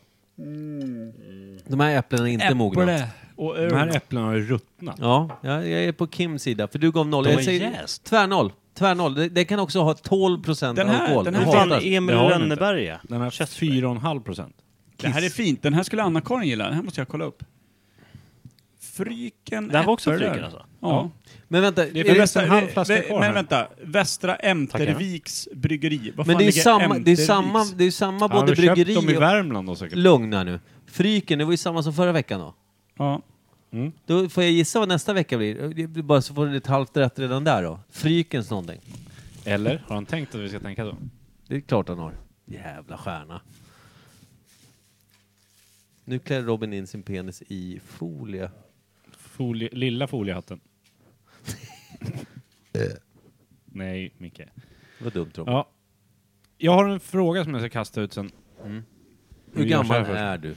De här äpplena är inte mogna. Och eh, De här öl. äpplena har ju ruttnat. Ja, jag, jag är på Kims sida. För du gav noll. De jag är säger jäst. tvärnoll. Tvärnoll. Det, det kan också ha 12 procent Den här- alkohol. den Jag här- Hur hatar fan det. Emil Det har den Rönneberga? Den här 4,5 procent. Det här är fint. Den här skulle Anna-Karin gilla. Den här måste jag kolla upp. Fryken Den var också äppelöl. fryken, alltså? Ja. Men vänta, Det är är för det, resten- en halv flaska vä- kvar men här. vänta. Västra Ämterviks bryggeri. Vad men fan det är ju ligger samma, det är Ämterviks? samma, det är samma Har både du köpt bryggeri dem i och... Värmland då säkert? Lugna nu. Fryken, det var ju samma som förra veckan då. Ja. Då får jag gissa vad nästa vecka blir. Det blir Bara så får du ett halvt rätt redan där då. Frykens någonting. Eller? Har han tänkt att vi ska tänka så? Det är klart han har. Jävla stjärna. Nu klär Robin in sin penis i folie. Folie, lilla foliehatten. Eh. Nej, Micke. Det var dumt Robin. Ja. Jag har en fråga som jag ska kasta ut sen. Hur Vi gör så här gammal först. är du?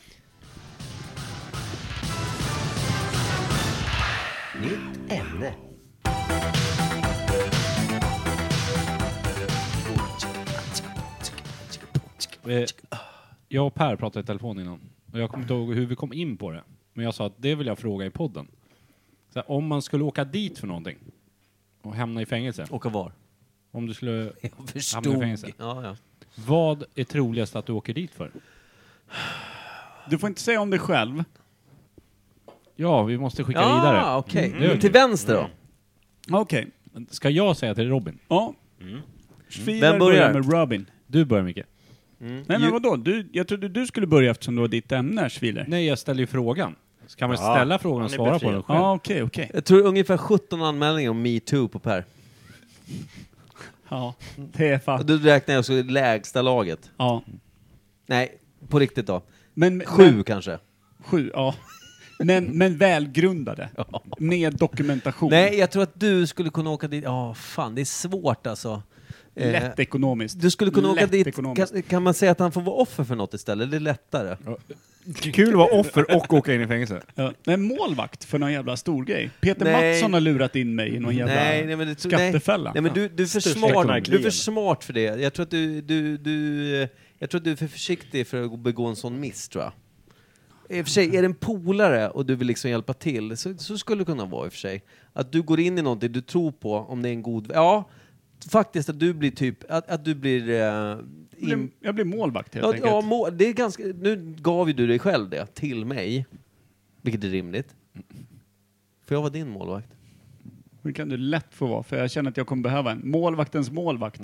Eh, Jag och Per pratade i telefon innan. Och jag kommer inte ihåg hur vi kom in på det. Men jag sa att det vill jag fråga i podden. Så här, om man skulle åka dit för någonting och hamna i fängelse. Åka var? Om du skulle hamna Jag i fängelse. Ja, ja. Vad är troligast att du åker dit för? Du får inte säga om dig själv. Ja, vi måste skicka Ja, vidare. Ah, okej. Mm. Mm, det gör Till vi. vänster då? Ah, Okej. Ska jag säga till Robin? Ja. Fyra Mm. Vem börjar? börjar? Mm. med Robin. Du börjar Micke. Nej men vadå? Du, jag trodde du skulle börja eftersom det var ditt ämne, Schwiler. Nej, jag ställer ju frågan. Så kan man Ja, ställa frågan och han är svara på befriad. den själv? Ja, okej, okej. Jag tror ungefär 17 anmälningar om metoo på Per. Ja, det är fatt. Du räknar jag också i lägsta laget. Ja. Nej, på riktigt då. Men, Sju Men, kanske? sju, ja. Men, men välgrundade. Med dokumentation. Nej, jag tror att du skulle kunna åka dit. Ja, fan, det är svårt alltså. Eh, Lätt ekonomiskt. Du skulle kunna åka Lätt dit. ekonomiskt. Kan, kan man säga att han får vara offer för något istället? Det är lättare. Kul att vara offer och åka in i fängelse. Ja. Men målvakt för någon jävla stor grej. Peter Nej. Mattsson har lurat in mig i någon jävla Nej, nej, men det, tror- skattefälla. Nej, nej men du, du, är för Största smart, ekonomin. du är för smart för det. Jag tror att du, du, du, eh, jag tror att du är för försiktig för att begå en sån miss, tror jag. I och för sig, är det en polare och du vill liksom hjälpa till, så, så skulle det kunna vara i och för sig. Att du går in i någonting du tror på, om det är en god... Ja, faktiskt att du blir typ... Att, att du blir... Eh, Jag blir- in, Jag blir målvakt helt ja, enkelt. ja, må, det är ganska, nu gav ju du dig själv det, till mig. Vilket är rimligt. För jag var din målvakt. Det kan du lätt få vara, för jag känner att jag kommer behöva en. Målvaktens målvakt.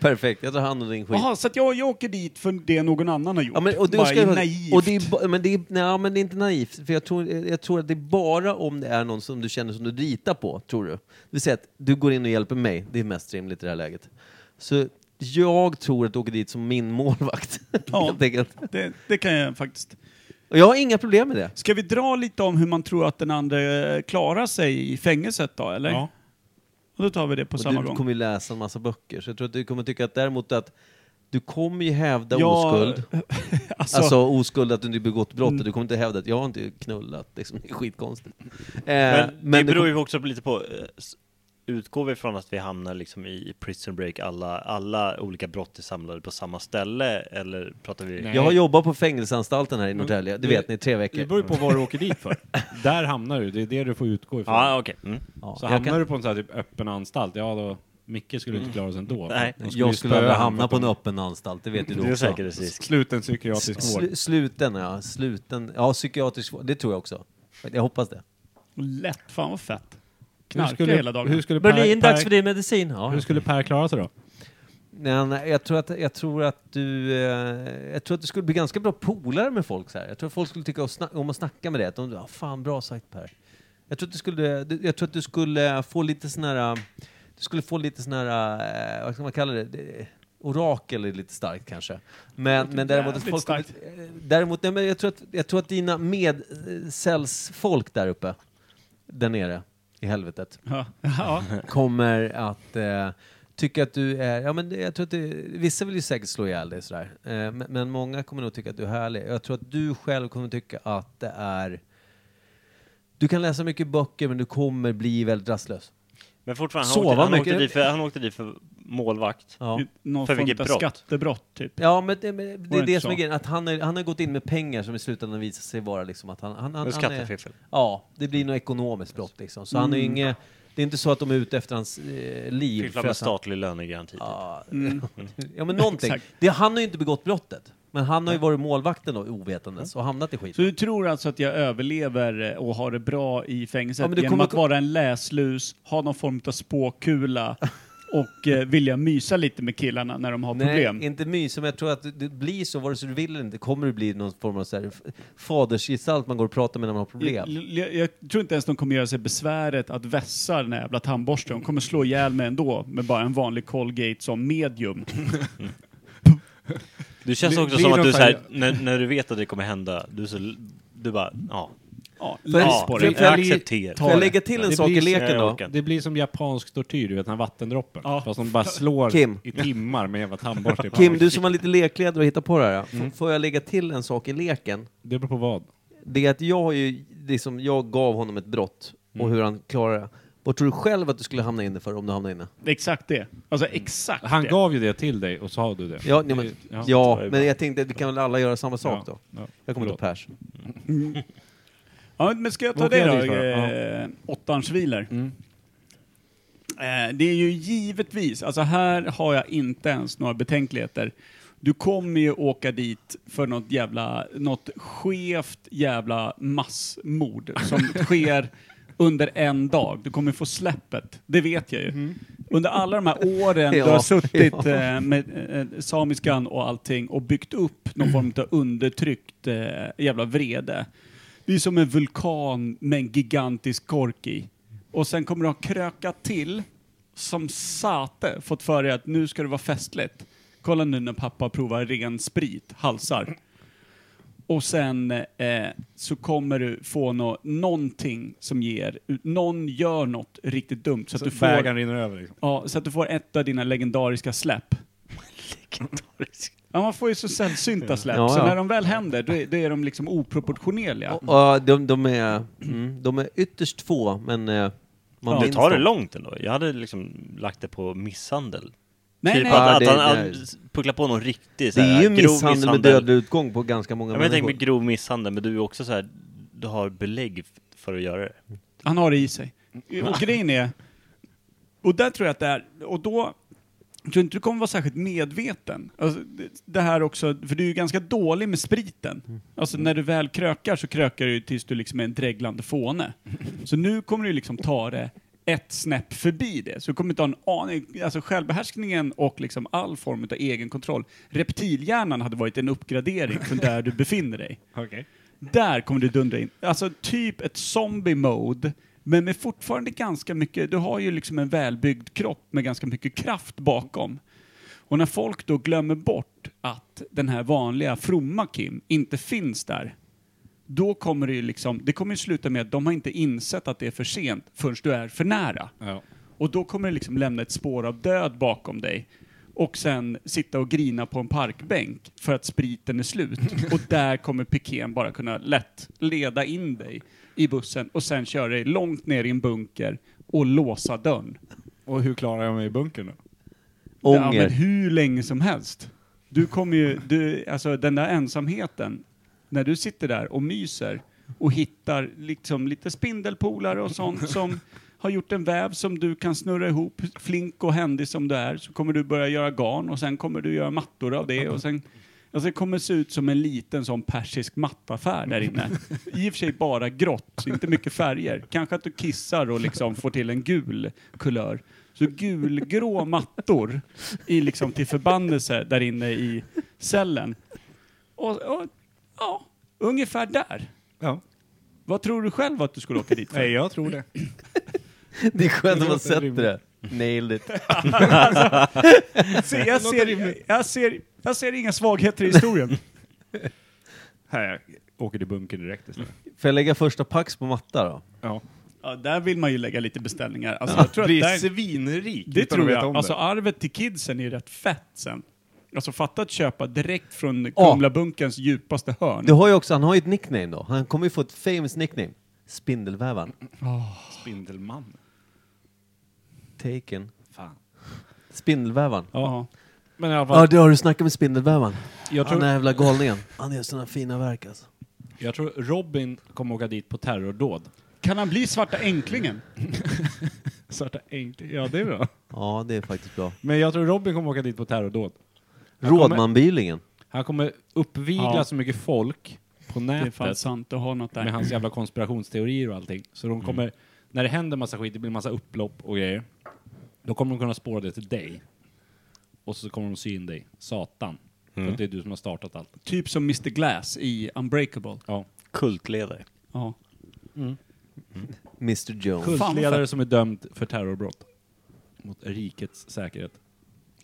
Perfekt, jag tar hand om din skit. Jaha, så att jag, jag åker dit för det någon annan har gjort? Ja, men, och du Bara ska, i naivt. Och det är, ba- men, det är, nej, men det är inte naivt, för jag tror, jag tror att det är bara om det är någon som du känner som du ritar på, tror du. Det vill säga att du går in och hjälper mig, det är mest rimligt i det här läget. Så jag tror att du åker dit som min målvakt, Ja. helt enkelt. det, det kan jag faktiskt. Och jag har inga problem med det. Ska vi dra lite om hur man tror att den andra eh, klarar sig i fängelset då, eller? Ja. Och då tar vi det på Och samma du gång. kommer ju läsa en massa böcker, så jag tror att du kommer tycka att däremot att du kommer ju hävda Ja, oskuld. alltså, Alltså oskuld att du inte begått Mm. brottet. Du kommer inte hävda att jag har inte knullat. Liksom, det är skitkonstigt. Eh, Men, men det du beror ju också lite på eh, s- Utgår vi från att vi hamnar liksom i prison break alla, alla olika brott är samlade på samma ställe eller pratar vi? Nej. Jag har jobbat på fängelseanstalten här i Norrtälje, det det- vet ni, i tre Det veckor. beror ju på vad du åker dit för. Där hamnar du, det är det du får utgå ifrån. Ja okej, mm. Ja, Så jag, hamnar kan, du på en sån här typ öppen anstalt, ja då, Micke skulle inte klara sig ändå. Nej. De ju jag skulle spöa aldrig honom för hamna att på en de- öppen anstalt, det vet ju det du är också. säkerhetsrisk. Sluten psykiatrisk vård. Sl- sluten, ja. Sluten, ja, psykiatrisk vård, det tror jag också. Jag hoppas det. lätt. Fan vad fett. Hur Knarka skulle, hela dagen. hur skulle per, per, din medicin. Ja. hur skulle Per klara sig då? Nej, nej, jag, tror att, jag, tror att du, eh, jag tror att du skulle bli ganska bra polare med folk så här. Jag tror att folk skulle tycka om sna- om att snacka med dig. Att de, ja, fan bra sagt Per. Jag tror att du skulle, du- jag tror att du skulle få lite sån här, eh, du skulle få lite sån här, eh, vad ska man kalla det? det? Orakel är lite starkt kanske. Men, men däremot, att jävligt folk, starkt. eh, däremot nej, men jag, tror att, jag tror att dina medcellsfolk där uppe, där nere i helvetet, Ja, ja. kommer att eh, tycka att du är... Ja, men det- jag tror att det, vissa vill ju säkert slå ihjäl dig sådär. Eh, men, men många kommer nog tycka att du är härlig. Jag tror att du själv kommer tycka att det är... Du kan läsa mycket böcker men du kommer bli väldigt rastlös. Men fortfarande, han, Sova åkte, han, åkte mycket. dit för, han åkte dit för målvakt. Ja. Någon För form vilket av brott? skattebrott typ. Ja, men det, men det Mm. det är det inte som är så? grejen. Att han, är, han har gått in med pengar som i slutändan visar sig vara liksom att han... han, han, Men han är, Skattefiffel. ja, det blir något ekonomiskt brott liksom. Så han är ju Mm. inget... Det är inte så att de är ute efter hans eh, liv. Fiffla för med att han- statlig lönegaranti. typ. Ja, Mm. ja men någonting. Exakt. Det, han har ju inte begått brottet. Men han har ju varit målvakten då, ovetandes och hamnat i skit. Så du tror alltså att jag överlever och har det bra i fängelset Ja, men du genom kommer- att vara en läslus, ha någon form av spåkula och eh, vilja mysa lite med killarna när de har problem. Nej, inte mys, men jag tror att det- det blir så, vare sig du vill eller inte, kommer det bli någon form av så här, f- fadersgestalt man går och pratar med när man har problem. Jag, jag, jag tror inte ens de kommer göra sig besväret att vässa den här jävla tandborsten. De kommer slå ihjäl mig ändå med bara en vanlig Colgate som medium. Du känns Bli- också blir som att de du så så här- här, när, när du vet att det kommer hända, du, så, du bara, ja. Ja, För- läs ja på för- det. jag, för- jag Får jag accepterar. lägga till en Det sak blir i så- leken jag då? orkar. Det blir som japansk tortyr, du vet den här vattendroppen. Ja. Fast de bara slår Kim. i timmar med en jävla tandborste. Kim, du som var lite lekledare och hittade på det här. ja. Mm. F- Får jag lägga till en sak i leken? Det beror på vad. Det är att jag har ju, liksom, jag gav honom ett brott Mm. och hur han klarar det. Vad tror du själv att du skulle hamna inne för om du hamnade inne? Exakt det. Alltså exakt Han det. gav ju det till dig och sa du det. Ja, nej, men, Ja. ja, men jag tänkte att vi kan väl alla göra samma sak då? Ja. Jag kommer till Förlåt. Pers. Ja, men ska jag ta Vad kan det jag då? dit för? Mm. Eh, Åttans viler. Eh, det är ju givetvis, alltså här har jag inte ens några betänkligheter. Du kommer ju åka dit för något jävla, något skevt jävla massmord som sker under en dag. Du kommer få släppet, det vet jag ju. Mm. Under alla de här åren du Ja, har suttit ja. eh, med eh, samiskan och allting och byggt upp någon form av undertryckt eh, jävla vrede. Det är som en vulkan med en gigantisk kork i. Och sen kommer du ha krökat till som sate, fått för dig att nu ska det vara festligt. Kolla nu när pappa provar ren sprit, halsar. Och sen eh, så kommer du få nå någonting som ger, någon gör något riktigt dumt så, Så att du får Bägaren rinner över liksom. Ja, så att du får ett av dina legendariska släpp. Ja, man får ju så sällsynta släpp, Ja, ja. så när de väl händer, då är, då är de liksom oproportionerliga. Och, och de, de, är, mm, de är ytterst få, men eh, man Ja, Du minns tar det dem. långt ändå. Jag hade liksom lagt det på misshandel. nej, typ nej, att, Ja, att det- han, det- han pucklar på någon riktig Det så här, är ju grov misshandel med dödlig utgång på ganska många Ja, men jag tänker människor. med grov misshandel, men du är också så här, du har belägg f- för att göra det. Han har det i sig. Och grejen är, och där tror jag att det är, och då jag tror inte du kommer vara särskilt medveten. Alltså, det- det här också, för du är ju ganska dålig med spriten. Alltså när du väl krökar så krökar du ju tills du liksom är en dreglande fåne. Så nu kommer du liksom ta det ett snäpp förbi det. Så du kommer inte ha en aning, alltså självbehärskningen och liksom all form av egenkontroll. Reptilhjärnan hade varit en uppgradering från där du befinner dig. Okej. Där kommer du dundra in. Alltså typ ett zombie-mode, men med fortfarande ganska mycket, du har ju liksom en välbyggd kropp med ganska mycket kraft bakom. Och när folk då glömmer bort att den här vanliga fromma Kim inte finns där, då kommer det ju liksom, det kommer ju sluta med att de har inte insett att det är för sent förrän du är för nära. Ja. Och då kommer det liksom lämna ett spår av död bakom dig. Och sen sitta och grina på en parkbänk för att spriten är slut. Och där kommer piken bara kunna lätt leda in dig i bussen och sen köra dig långt ner i en bunker och låsa dörren. Och hur klarar jag mig i bunkern då? Ja, Ånger. men hur länge som helst. Du kommer ju, du, alltså den där ensamheten, när du sitter där och myser och hittar liksom lite spindelpolare och sånt som har gjort en väv som du kan snurra ihop, flink och händig som du är, så kommer du börja göra garn och sen kommer du göra mattor av det och sen Alltså det kommer se ut som en liten sån persisk mattaffär där inne. I och för sig bara grått, så inte mycket färger. Kanske att du kissar och liksom får till en gul kulör. Så gulgrå mattor i liksom till förbannelse där inne i cellen. Och, och ja, ungefär där. Ja. Vad tror du själv att du skulle åka dit för? Nej, jag tror det. Det är skönt Det att man låter sätter rimligt. det. Nailed it. Se, jag, ser, jag, ser, jag ser inga svagheter i historien. Här, jag åker till bunkern direkt istället. Får jag lägga första pax på matta då? Ja. Ja, där vill man ju lägga lite beställningar. Alltså, jag tror att Blir där... svinrik Det utan att tror veta jag. om alltså det. arvet till kidsen är rätt fett sen. Alltså fatta att köpa direkt från Ja. Kumlabunkens djupaste hörn. Du har ju också, han har ju ett nickname då. Han kommer ju få ett famous nickname. Spindelvävaren. Spindelman. Taken. Fan. Spindelvävaren. Ja. Men i alla fall, Ja, det har du snackat med Spindelvävaren. jag, Han tror, är jävla galningen. Han gör såna fina verk alltså. jag tror Robin kommer åka dit på terrordåd. Kan han bli svarta änklingen? Svarta enkelt. Ja, det är bra. Ja, det är faktiskt bra. Men jag tror Robin kommer åka dit på terrordåd. Rådmanbylingen. Han kommer uppvigla Ja. så mycket folk på Det är fan nätet sant, du har något där. med hans jävla Mm. konspirationsteorier och allting. Så de kommer, när det händer massa skit, det blir massa upplopp och grejer. Då kommer de kunna spåra det till dig. Och så kommer de sy in dig. Satan. För Mm. att det är du som har startat allt. Typ som Mr Glass i Unbreakable. Ja. Kultledare. Ja. Mr Jones. Cool. vad Kultledare fett. som är dömd för terrorbrott. Mot rikets säkerhet.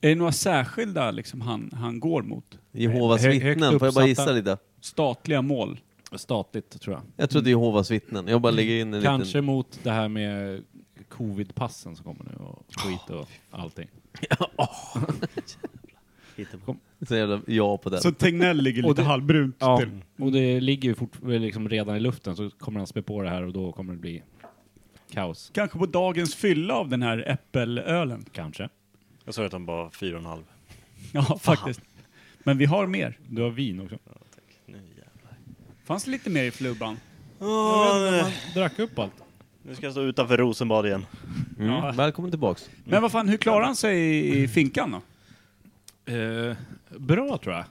Är det några särskilda liksom, han, han går mot? Jehovas Hö- högt vittnen, får jag bara uppsatta. gissa lite? Statliga mål? Statligt, tror jag. Jag tror det är Mm. Jehovas vittnen. Jag bara lägger in en Kanske liten... mot det här med covid-passen som kommer nu och skit och allting. Hittar på. Så jävla ja på den. Så Tegnell ligger Och lite det- halvbrunt Ja, till. och det ligger ju fort, liksom redan i luften så kommer han spä på det här och då kommer det bli kaos. Kanske på dagens fylla av den här äppelölen. Kanske. Jag sa att han bara fyra och en halv. Ja, faktiskt. Men vi har mer. Du har vin också. Fanns det lite mer i flubban? Drack upp allt. Nu ska jag stå utanför Rosenbad igen. Mm. Välkommen tillbaks. Men vad fan, hur klarar han sig i, i finkan då? Eh, bra tror jag.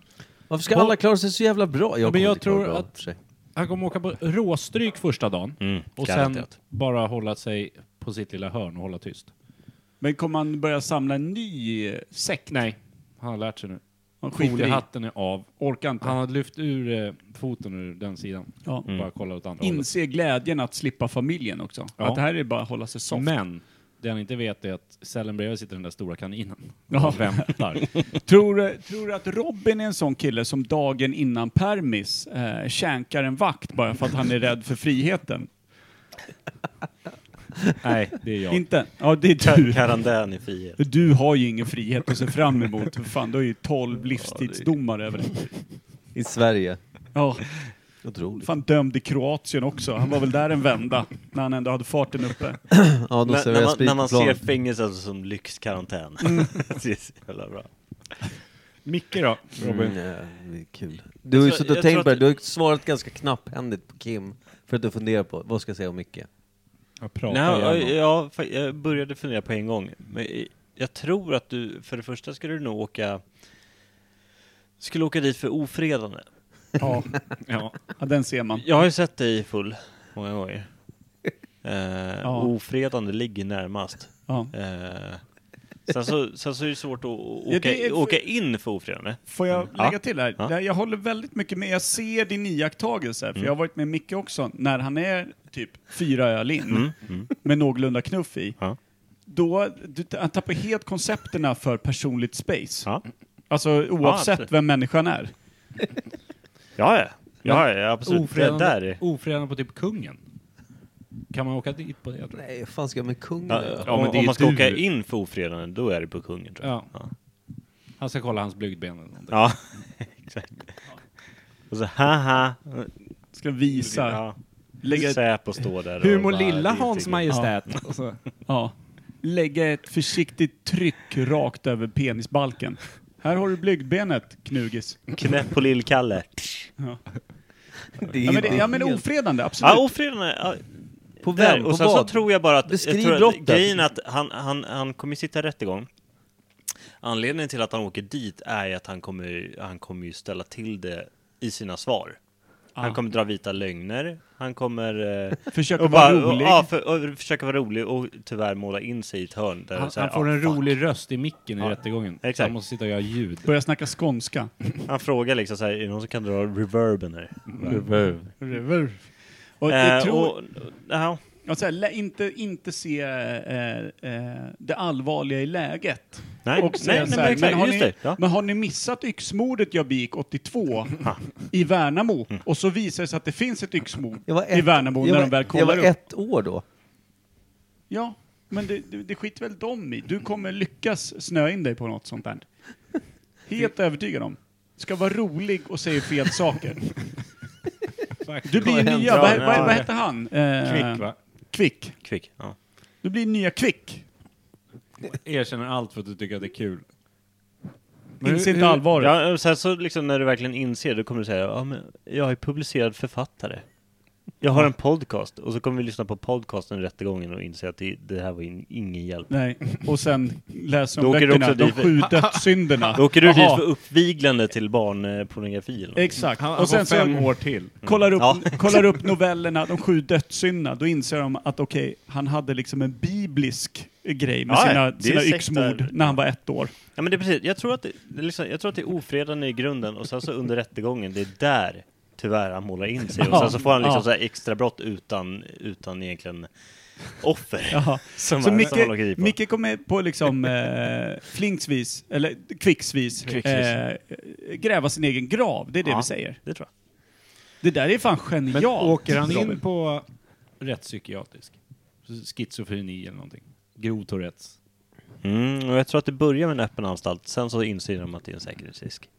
Varför ska alla klara sig så jävla bra? Men kommer jag inte klara tror bra, att- för sig. Han kommer åka på råstryk första dagen Mm, och sen garanterat. bara hålla sig på sitt lilla hörn och hålla tyst. Men kommer han börja samla en ny eh, sekt? Nej, han har lärt sig nu. Han skiter i. Foliehatten är av. Orkar inte. Han Mm. har lyft ur eh, foten ur den sidan. Ja. Bara kolla åt andra hållet. Inse glädjen att slippa familjen också. Ja. Att det här är bara att hålla sig soft. Men det han inte vet är att cellen bredvid sitter den där stora kaninen. Ja. Och väntar. Tror, du- tror du att Robin är en sån kille som dagen innan permis eh, känkar en vakt bara för att han är rädd för friheten? Nej, det är jag. Inte? Ja, det är du. Karantän i frihet. Du har ju ingen frihet att se fram emot. För fan, du har ju 12 livstidsdomar över dig. I Sverige. Ja, Otroligt. fan dömd i Kroatien också. Han var väl där en vända när han ändå hade farten uppe. Ja, de När, när serverar man, när sprit på man ser planet. fängelset som lyxkarantän. Mm. det är så jävla bra. Micke då, Robin? Mm, ja, det är kul. Du har ju tror- suttit och jag tänkt tror på det. att- Du har ju svarat ganska knapphändigt på Kim. För att du funderar på, vad ska jag säga om Micke? Jag pratar Nej, gärna. jag, jag, fa- jag började fundera på en gång. Men i- jag tror att du, för det första skulle du nog åka skulle åka dit för ofredande. Ja, Ja. ja den ser man. Jag har ju sett dig full många gånger. Eh, Ja. Ofredande ligger närmast. Ja. Eh, sen, så, sen så är det svårt att åka, Ja, det är för- åka in för ofredande. Får jag Ja. lägga till här? Mm. Ja. Mm. Där Jag håller väldigt mycket med. Jag ser din iakttagelse, för jag har varit med Micke också, när han är typ fyra öl in, med någorlunda knuff i. Mm. Ja. Då, du, han tappar helt koncepterna för personligt space. Ja, Alltså oavsett absolut. vem människan är. ja, ja. ja, ja absolut. Det där Ofredande, är... Alltså, ofredande på typ kungen. Kan man åka dit på det? tror jag? Nej, vad fan ska jag med kungen Ja, göra? om, men det är om man ska du. åka in för ofredande, då är det på kungen tror jag. Ja. Han ska kolla hans blygdben eller någonting. Ja, exakt. Och så haha. Ska visa. Ja. Lägga, ett, Säpo står där. och Hur mår bara, lilla det är Hans typ- Majestät? ja, lägga ett försiktigt tryck rakt över penisbalken. Här har du blygdbenet, knugis. Knäpp på lill-Kalle. Det är Ja men, inte det, ja, men helt- ofredande, absolut. Ja, ofredande. Ja, På där. vem? På Och sen så vad? tror jag bara att... Beskriv jag tror brottet. att grejen är att han, han, han kommer sitta rättegång. Anledningen till att han åker dit är ju att han kommer, han kommer ju ställa till det i sina svar. Han kommer dra vita lögner. Han kommer... Eh, Försöka och vara bara- och- rolig. Ja, för, och försöka vara rolig och tyvärr måla in sig i ett hörn. Där Han, så här, "Ah, han får ja, en fuck. rolig röst i micken i Ja, rättegången. exakt. Så Han måste sitta och göra ljud. Börja snacka skånska. Han frågar liksom så här, är det någon som kan dra reverben här? Och Eh, jag tror, och, ja, ja, så här, lä- inte, inte se eh, eh, det allvarliga i läget. nej, Och nej, säga nej, så men här, exakt, men, har just ni, det. Ja. men har ni missat yxmordet jag begick 82 i Värnamo? Mm. Och så visar det sig att det finns ett yxmord Jag var ett, i Värnamo jag när var, de väl Jag kollar var upp. ett år då. Ja, men det, det, det skiter väl de i. Du kommer lyckas snöa in dig på något sånt där. Helt övertygad om. Ska vara rolig och säga fel saker. Du blir ju Vad nya, händer? vad, vad, vad hette han? Eh, Kvick va? Kvick. Kvick. Ja. Du blir nya Kvick. Erkänner allt för att du tycker att det är kul. Men Inse hur- inte hur- allvaret. eh, Ja, och sen så liksom när du verkligen inser, då kommer du säga, ja men jag är publicerad författare. Jag har en podcast och så kommer vi lyssna på podcasten Rättegången och inse att det, det här var in, ingen hjälp. Nej, och sen läser Då de åker du böckerna, också de dit. sju dödssynderna. Då åker du dit Jaha, för uppviglande till barnpornografi eller något. Exakt. Han, han och sen får så fem år till. kollar, upp, Ja. kollar upp novellerna, de sju dödssynderna, då inser de att okej, han hade liksom en biblisk grej med Ja, sina, det är sina sekter. yxmord när han var ett år. Ja men det är precis, jag tror att det, det är liksom, jag tror att det är ofredande i grunden och sen så under rättegången, det är där tyvärr han målar in sig och sen så får han liksom Ja. så här extra brott utan, utan egentligen offer. Jaha. Som Så han- som han åker Micke, dit på. Micke kom med på liksom eh, flinksvis, eller kvicksvis, Kvicksvis. eh, gräva sin egen grav. Det är det Ja. vi säger. Det tror jag. Det där är fan Men genialt. åker han in Robin. på rättspsykiatrisk? Schizofreni eller någonting? Grov Tourettes? Mm, och jag tror att det börjar med en öppen anstalt, sen så inser de att det är en säkerhetsrisk.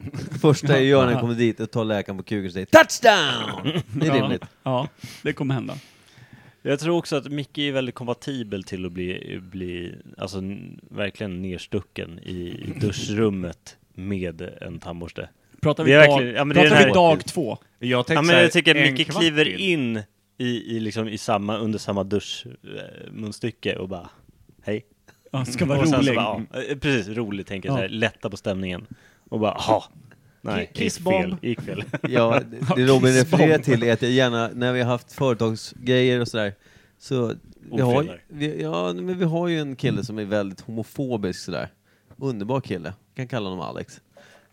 Första jag gör när jag kommer dit är att ta läkaren på kuken och säga Touchdown! Det är rimligt. Ja, det kommer hända. Jag tror också att Micke är väldigt kompatibel till att bli, bli alltså n- verkligen nerstucken i duschrummet med en tandborste. Pratar vi, Det är dag, verkligen- ja, men det är pratar den vi här- dag två? Jag Ja, men jag tycker att Micke kliver in i, i, liksom, i samma, under samma duschmunstycke och bara hej. Ja, ska vara och sen rolig. så bara, ja, eh, precis, rolig tänker jag Ja. så här, lätta på stämningen. Och bara, ha. Nej, gick Kissbomb. fel, gick fel. Ja, det- det Robin refererar till är att jag gärna, när vi har haft företagsgrejer och sådär, så... Vi har, Ofredar. vi, ja, men vi har ju en kille som är väldigt homofobisk sådär. Underbar kille. Kan kalla honom Alex.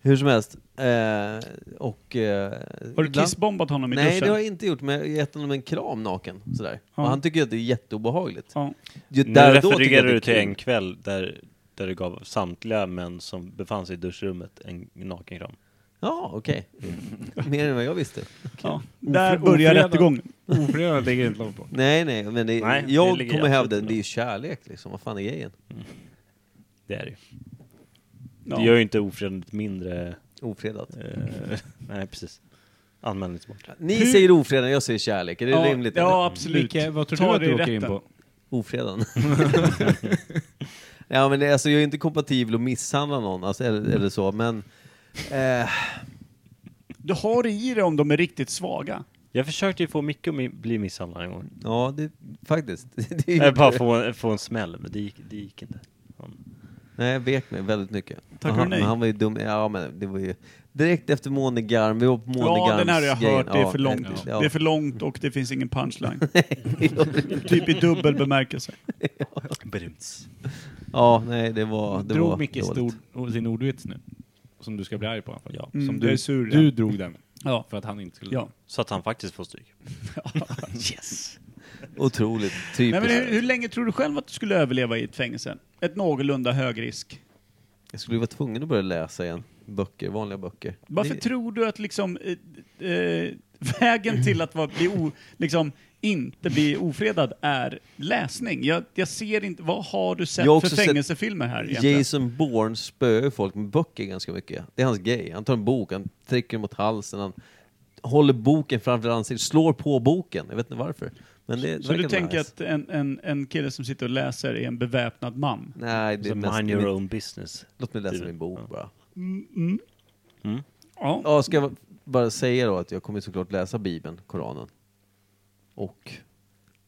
Hur som helst. Eh, och... Eh, Har du ibland- kissbombat honom i Nej, det duschen? har jag inte gjort, men jag har gett honom en kram naken. Sådär. Ja. Och han tycker att det är jätteobehagligt. Ja. Ju- Nu där och då tycker jag refererar att det är du kul. till en kväll där, där du gav samtliga män som befann sig i duschrummet en nakenkram. Ja, okej. Mer än vad jag visste. Ja. Där börjar ofredan. rättegången. Ofredat ligger inte långt på. Nej, nej, men det, Nej, det jag ligger kommer absolut hävda att inte. det är kärlek liksom. Vad fan är grejen? Det är det ju. Ja. Det gör ju inte ofredandet mindre... Ofredat. Eh, nej, precis. Anmälningsbart. Ni Hur- säger ofredan, jag säger kärlek. Är det ja, rimligt? Ja, Ja. absolut. Micke, vad tror Ta du att det du i åker in rätten. på? Ofredan. ja, men det, alltså, jag är inte kompatibel att misshandla någon, alltså, eller, eller så, men... Eh, Du har det i dig om de är riktigt svaga. Jag försökte ju få Micke att mi- bli misshandlad en gång. ja, det, faktiskt. Det är ju- Jag bara få en, få en smäll, men det gick, det gick inte. Nej, jag vek mig väldigt mycket. Tackar han, du nej? men han var ju dum. Ja, men det var ju... Direkt efter Månegarm, vi var på Månegarms Ja, den här har jag hört. Det är för långt. Ja. Det är för långt och det finns ingen punchline. typ i dubbel bemärkelse. Brums. ja, nej, det var det var Drog Micke dåligt. stor, och sin ordvits nu? Som du ska bli arg på? Ja. Som Mm, du, jag är sur, du ja. drog den Ja. för att han inte skulle... ja. Så att han faktiskt får stryk. Otroligt. Nej, Typiskt. men hur, hur länge tror du själv att du skulle överleva i ett fängelse? Ett någorlunda hög risk. Jag skulle ju vara tvungen att börja läsa igen. Böcker, vanliga böcker. Varför det, tror du att liksom, eh, eh, vägen till att vara, bli o, liksom, inte bli ofredad är läsning? Jag, jag ser inte, vad har du sett Jag har för också sett fängespelfilmer här egentligen? Jason Bourne spöar ju folk med böcker ganska mycket. Det är hans grej. Han tar en bok, han trycker den mot halsen, han håller boken framför ansiktet, slår på boken. Jag vet inte varför. Men det Så du verkar tänker nice. att en, en, en kille som sitter och läser är en beväpnad man? Nej, det Så är mest... mind your own business. Låt mig läsa Du- min bok bara. Ja. Ja, ska jag bara säga då att jag kommer såklart läsa Bibeln, Koranen. Och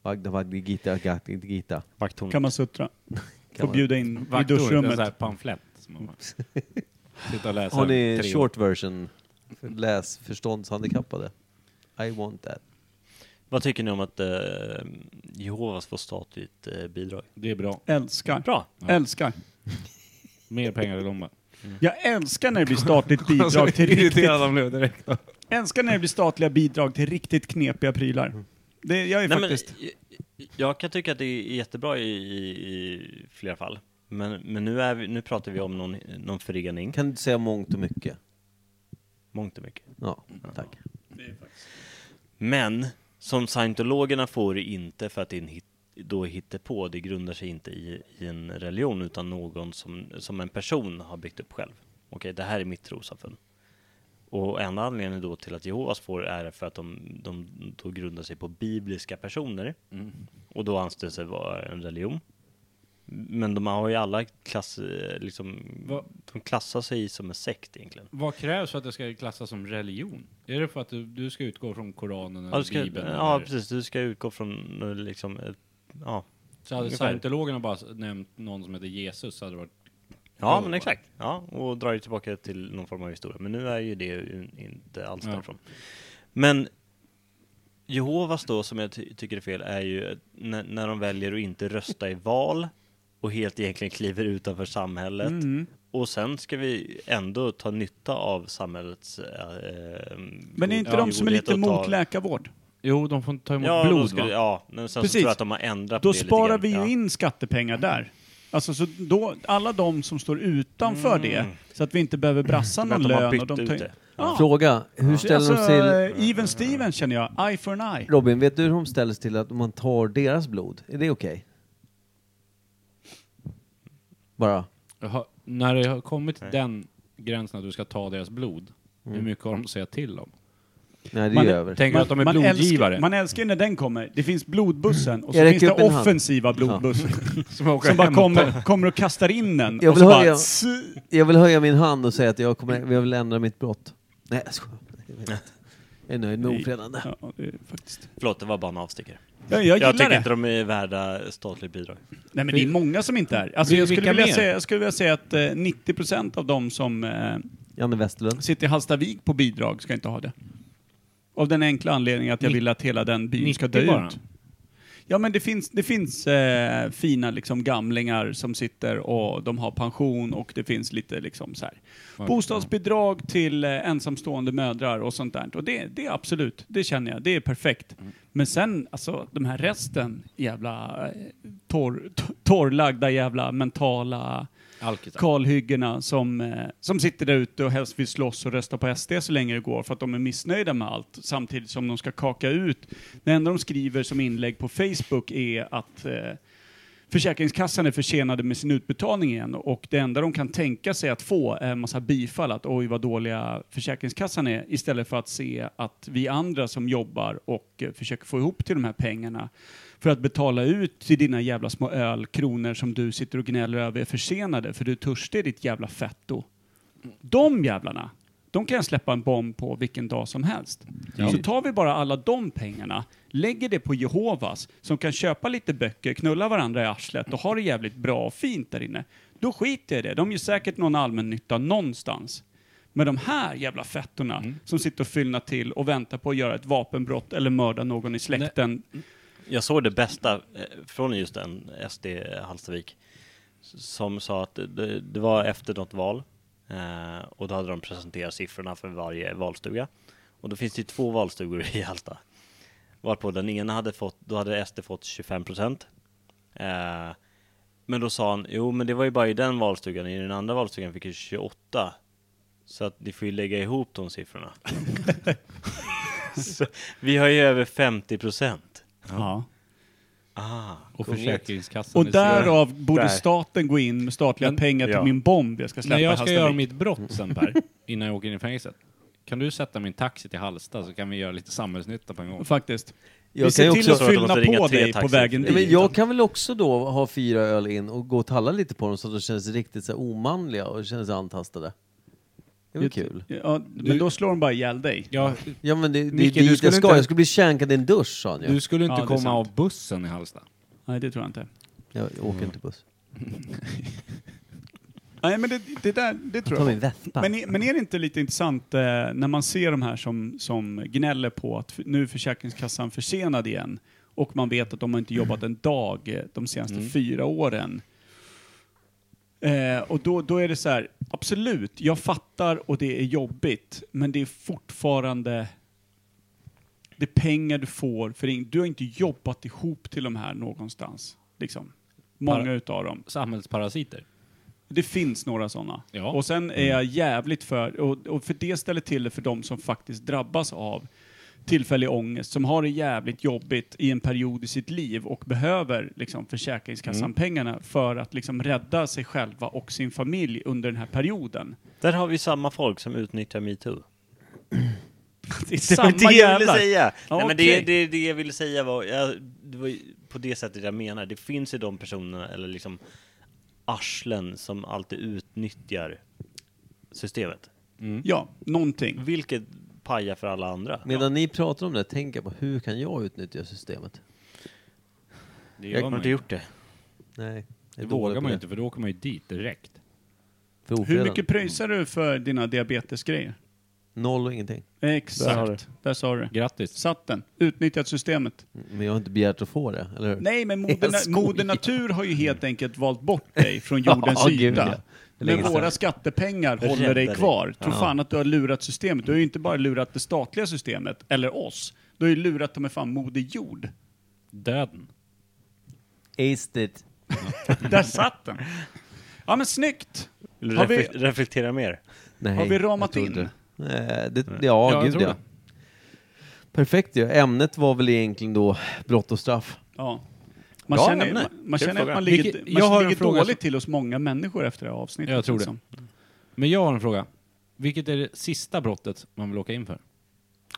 Bhagavad Gita, Gita, Gita. Vakttornet. Kan man suttra? Kan Och man- bjuda in i Vaktor, det är så här duschrummet? pamflett som man bara... Sitta och läsa Har ni tre år. short version? För Läs förståndshandikappade. I want that. Vad tycker ni om att eh, Jehovas får statligt eh, bidrag? Det är bra. Älskar. Bra. Älskar. Mer pengar i lomben. Jag älskar när det blir statligt Alltså, bidrag till riktigt... Irriterad han blev direkt. älskar när det blir statliga bidrag till riktigt knepiga prylar. Det, jag är Nej, men, faktiskt... jag, jag kan tycka att det är jättebra i, i, i flera fall. Men, men nu, är vi, nu pratar vi om någon, någon förening, Kan du säga mångt och mycket? mångt och mycket. Ja, tack. Men som scientologerna får det inte för att det är en hit, då på. det grundar sig inte i, i en religion utan någon som, som en person har byggt upp själv. Okej, det här är mitt trossamfund. Och enda anledningen då till att Jehovas får är för att de, de då Mm. grundar sig på bibliska personer och då anses det vara en religion. Men de har ju alla klass, eh, liksom, Va- Mm. de klassar sig som en sekt egentligen. Vad krävs för att det ska klassas som religion? Är det för att du, du ska utgå från Koranen eller Ja, du ska, Bibeln? ja eller? precis, du ska utgå från eh, liksom, eh, ja. Så hade Ungefär. scientologerna bara s- nämnt någon som heter Jesus så hade det varit... Ja men exakt, ja, och drar ju tillbaka till någon form av historia. Men nu är ju det ju inte alls Ja. därifrån. Men Jehovas då, som jag ty tycker är fel, är ju när, när de väljer att inte rösta i val och helt egentligen kliver utanför samhället. Mm. Och sen ska vi ändå ta nytta av samhällets... Eh, Men är inte de som är lite emot läkarvård? Jo, de får inte ta emot ja, blod, blod skulle, va? ja, men sen så Precis. tror jag att de har ändrat Då på det sparar lite vi grann. ju ja. in skattepengar där. Alltså så då, alla de som står utanför det, så att vi inte behöver brassa Men någon Mm. att de har lön. bytt Och de ut tar- det. Ja. Fråga, hur ställer alltså, de sig till... eh, Even Steven känner jag, eye for an eye. Robin, vet du hur de ställer sig till att man tar deras blod? Är det okej? Bara. Jaha, När det har kommit till den gränsen att du ska ta deras blod, hur mycket har de att säga till om? Nej, det är Man- ju över. Tänker du att de är älskar, blodgivare? man älskar ju när den kommer. Det finns blodbussen och så Jag räcker finns det upp en hand. offensiva blodbussen som åker som bara hem och tar- kommer, kommer och kastar in den. Jag och vill så ha bara, det. "Tss." Jag vill höja min hand och säga att jag, kommer, jag vill ändra mitt brott. Nej, jag skojar. Jag vet inte. Jag är nöjd med ofredande. Ja, det är faktiskt. Förlåt, det var bara en avstickare. Jag, jag gillar Jag tycker det. inte de är värda statligt bidrag. Nej, men det är många som inte är. Alltså, Vi- jag, vilka skulle vilja mer? säga, jag skulle vilja säga att eh, 90% av de som eh, Janne Westerlund. sitter i Hallstavik på bidrag ska inte ha det. Av den enkla anledningen att jag Ni- vill att hela den byn ska 90 dö bara. ut. Ja, men det finns, det finns eh, fina liksom, gamlingar som sitter och de har pension och det finns lite liksom så här. Bostadsbidrag till eh, ensamstående mödrar och sånt där. Och det, det är absolut, det känner jag, det är perfekt. Men sen, alltså de här resten, jävla eh, torr, t- torrlagda jävla mentala Alkisar. kalhyggena som, eh, som sitter där ute och helst vill slåss och rösta på SD så länge det går för att de är missnöjda med allt samtidigt som de ska kaka ut. Det enda de skriver som inlägg på Facebook är att eh, Försäkringskassan är försenade med sin utbetalning igen och det enda de kan tänka sig att få är en massa bifall att oj vad dåliga Försäkringskassan är istället för att se att vi andra som jobbar och eh, försöker få ihop till de här pengarna för att betala ut till dina jävla små ölkronor som du sitter och gnäller över är försenade för du är törstig ditt jävla fetto. De jävlarna, de kan jag släppa en bomb på vilken dag som helst. Så tar vi bara alla de pengarna, lägger det på Jehovas som kan köpa lite böcker, knulla varandra i arslet och ha det jävligt bra och fint där inne. Då skiter jag i det. De gör säkert någon allmännytta någonstans. Men de här jävla fettorna Mm. som sitter och fyllnar till och väntar på att göra ett vapenbrott eller mörda någon i släkten Jag såg det bästa eh, från just en SD Hallstavik s- som sa att det, det var efter något val eh, och då hade de presenterat siffrorna för varje valstuga. Och då finns det ju två valstugor i Halsta. Varpå den ena hade fått, då hade SD fått 25 procent. Eh, men då sa han, jo men det var ju bara i den valstugan, i den andra valstugan fick ju 28. Så att ni får ju lägga ihop de siffrorna. så, vi har ju över 50 procent. Ja. Ah, Och kungligt. Försäkringskassan Och är sura. därav borde Där. staten gå in med statliga Men- pengar till ja. min bomb jag ska släppa När i jag ska göra Hallstavik. mitt brott sen Per, innan jag åker in i fängelset, kan du sätta min taxi till Halsta så kan vi göra lite samhällsnytta på en gång? Faktiskt. Vi Jag kan, ser ju till också, att Så att de fyllna måste ringa på tre dig på taxi vägen för Nej, men dit. jag kan väl också då ha fyra öl in och gå och talla lite på dem så att de känns riktigt så här omanliga och känner sig antastade. Det är väl kul? Ja, men då slår de bara ihjäl dig. Ja, Ja men det, det Micke, är du dit skulle jag ska. inte- Jag skulle bli känkad i en dusch sa han ju. du skulle inte Ja, det är komma sant. av bussen i Halsta. Nej, det tror jag inte. Jag, jag åker inte buss. Nej, men det, det där, det tror Ta jag. min vespa. Men, är- men är det inte lite intressant eh, när man ser de här som, som gnäller på att f- nu är Försäkringskassan försenad igen och man vet att de har inte jobbat en dag eh, de senaste fyra åren. Eh, och då, då är det så här, absolut, jag fattar och det är jobbigt, men det är fortfarande det är pengar du får för in, Du har inte jobbat ihop till de här någonstans. Liksom. Många Bara- utav dem. Samhällsparasiter. Det finns några sådana. Ja. Och sen Mm. är jag jävligt för, och, och för det ställer till det för de som faktiskt drabbas av tillfällig ångest, som har det jävligt jobbigt i en period i sitt liv och behöver liksom, Mm. Försäkringskassan-pengarna för att liksom, rädda sig själva och sin familj under den här perioden. Där har vi samma folk som utnyttjar metoo. Det är Det var samma det jag ville jävlar! säga! Ja, Nej, men det, okej. det, det jag ville säga var, jag, det var ju- på det sättet jag menar. Det finns ju de personerna, eller liksom arslen, som alltid utnyttjar systemet. Ja, någonting. Vilket pajar för alla andra. Medan ni pratar om det, tänker jag på hur kan jag utnyttja systemet? Det, Jag har inte gjort det. Nej. Det vågar man ju inte för då åker man ju dit direkt. Hur mycket pröjsar du för dina diabetesgrejer? Noll och ingenting. Exakt. Där har du. Där sa du. Grattis. Satt den. Utnyttjat systemet. Men jag har inte begärt att få det, eller hur? Nej, men Jag moder, skojar. moder natur har ju helt enkelt valt bort dig från jordens Ja, gud, ja. yta. Det är länge Men sedan. våra skattepengar håller Räddar dig dig. kvar. Tro fan att du har lurat systemet. Du har ju inte bara lurat det statliga systemet, eller oss. Du har ju lurat dem med fan moder jord. Döden. Aced it. Där satt den! Ja men snyggt! Vill du Har vi- reflek- reflektera mer? Nej, Har vi ramat jag tror inte in? det. Eh, det, Ja, ja, jag gud tror ja. det. Perfekt ju. Ämnet var väl egentligen då brott och straff. Ja. Man Bra känner, ämne. man, man Kul känner att fråga. man ligger, Vilket- jag man har en ligger fråga dåligt som- till hos många människor efter det här avsnittet. Jag tror det. liksom. Men jag har en fråga. Vilket är det sista brottet man vill åka in för?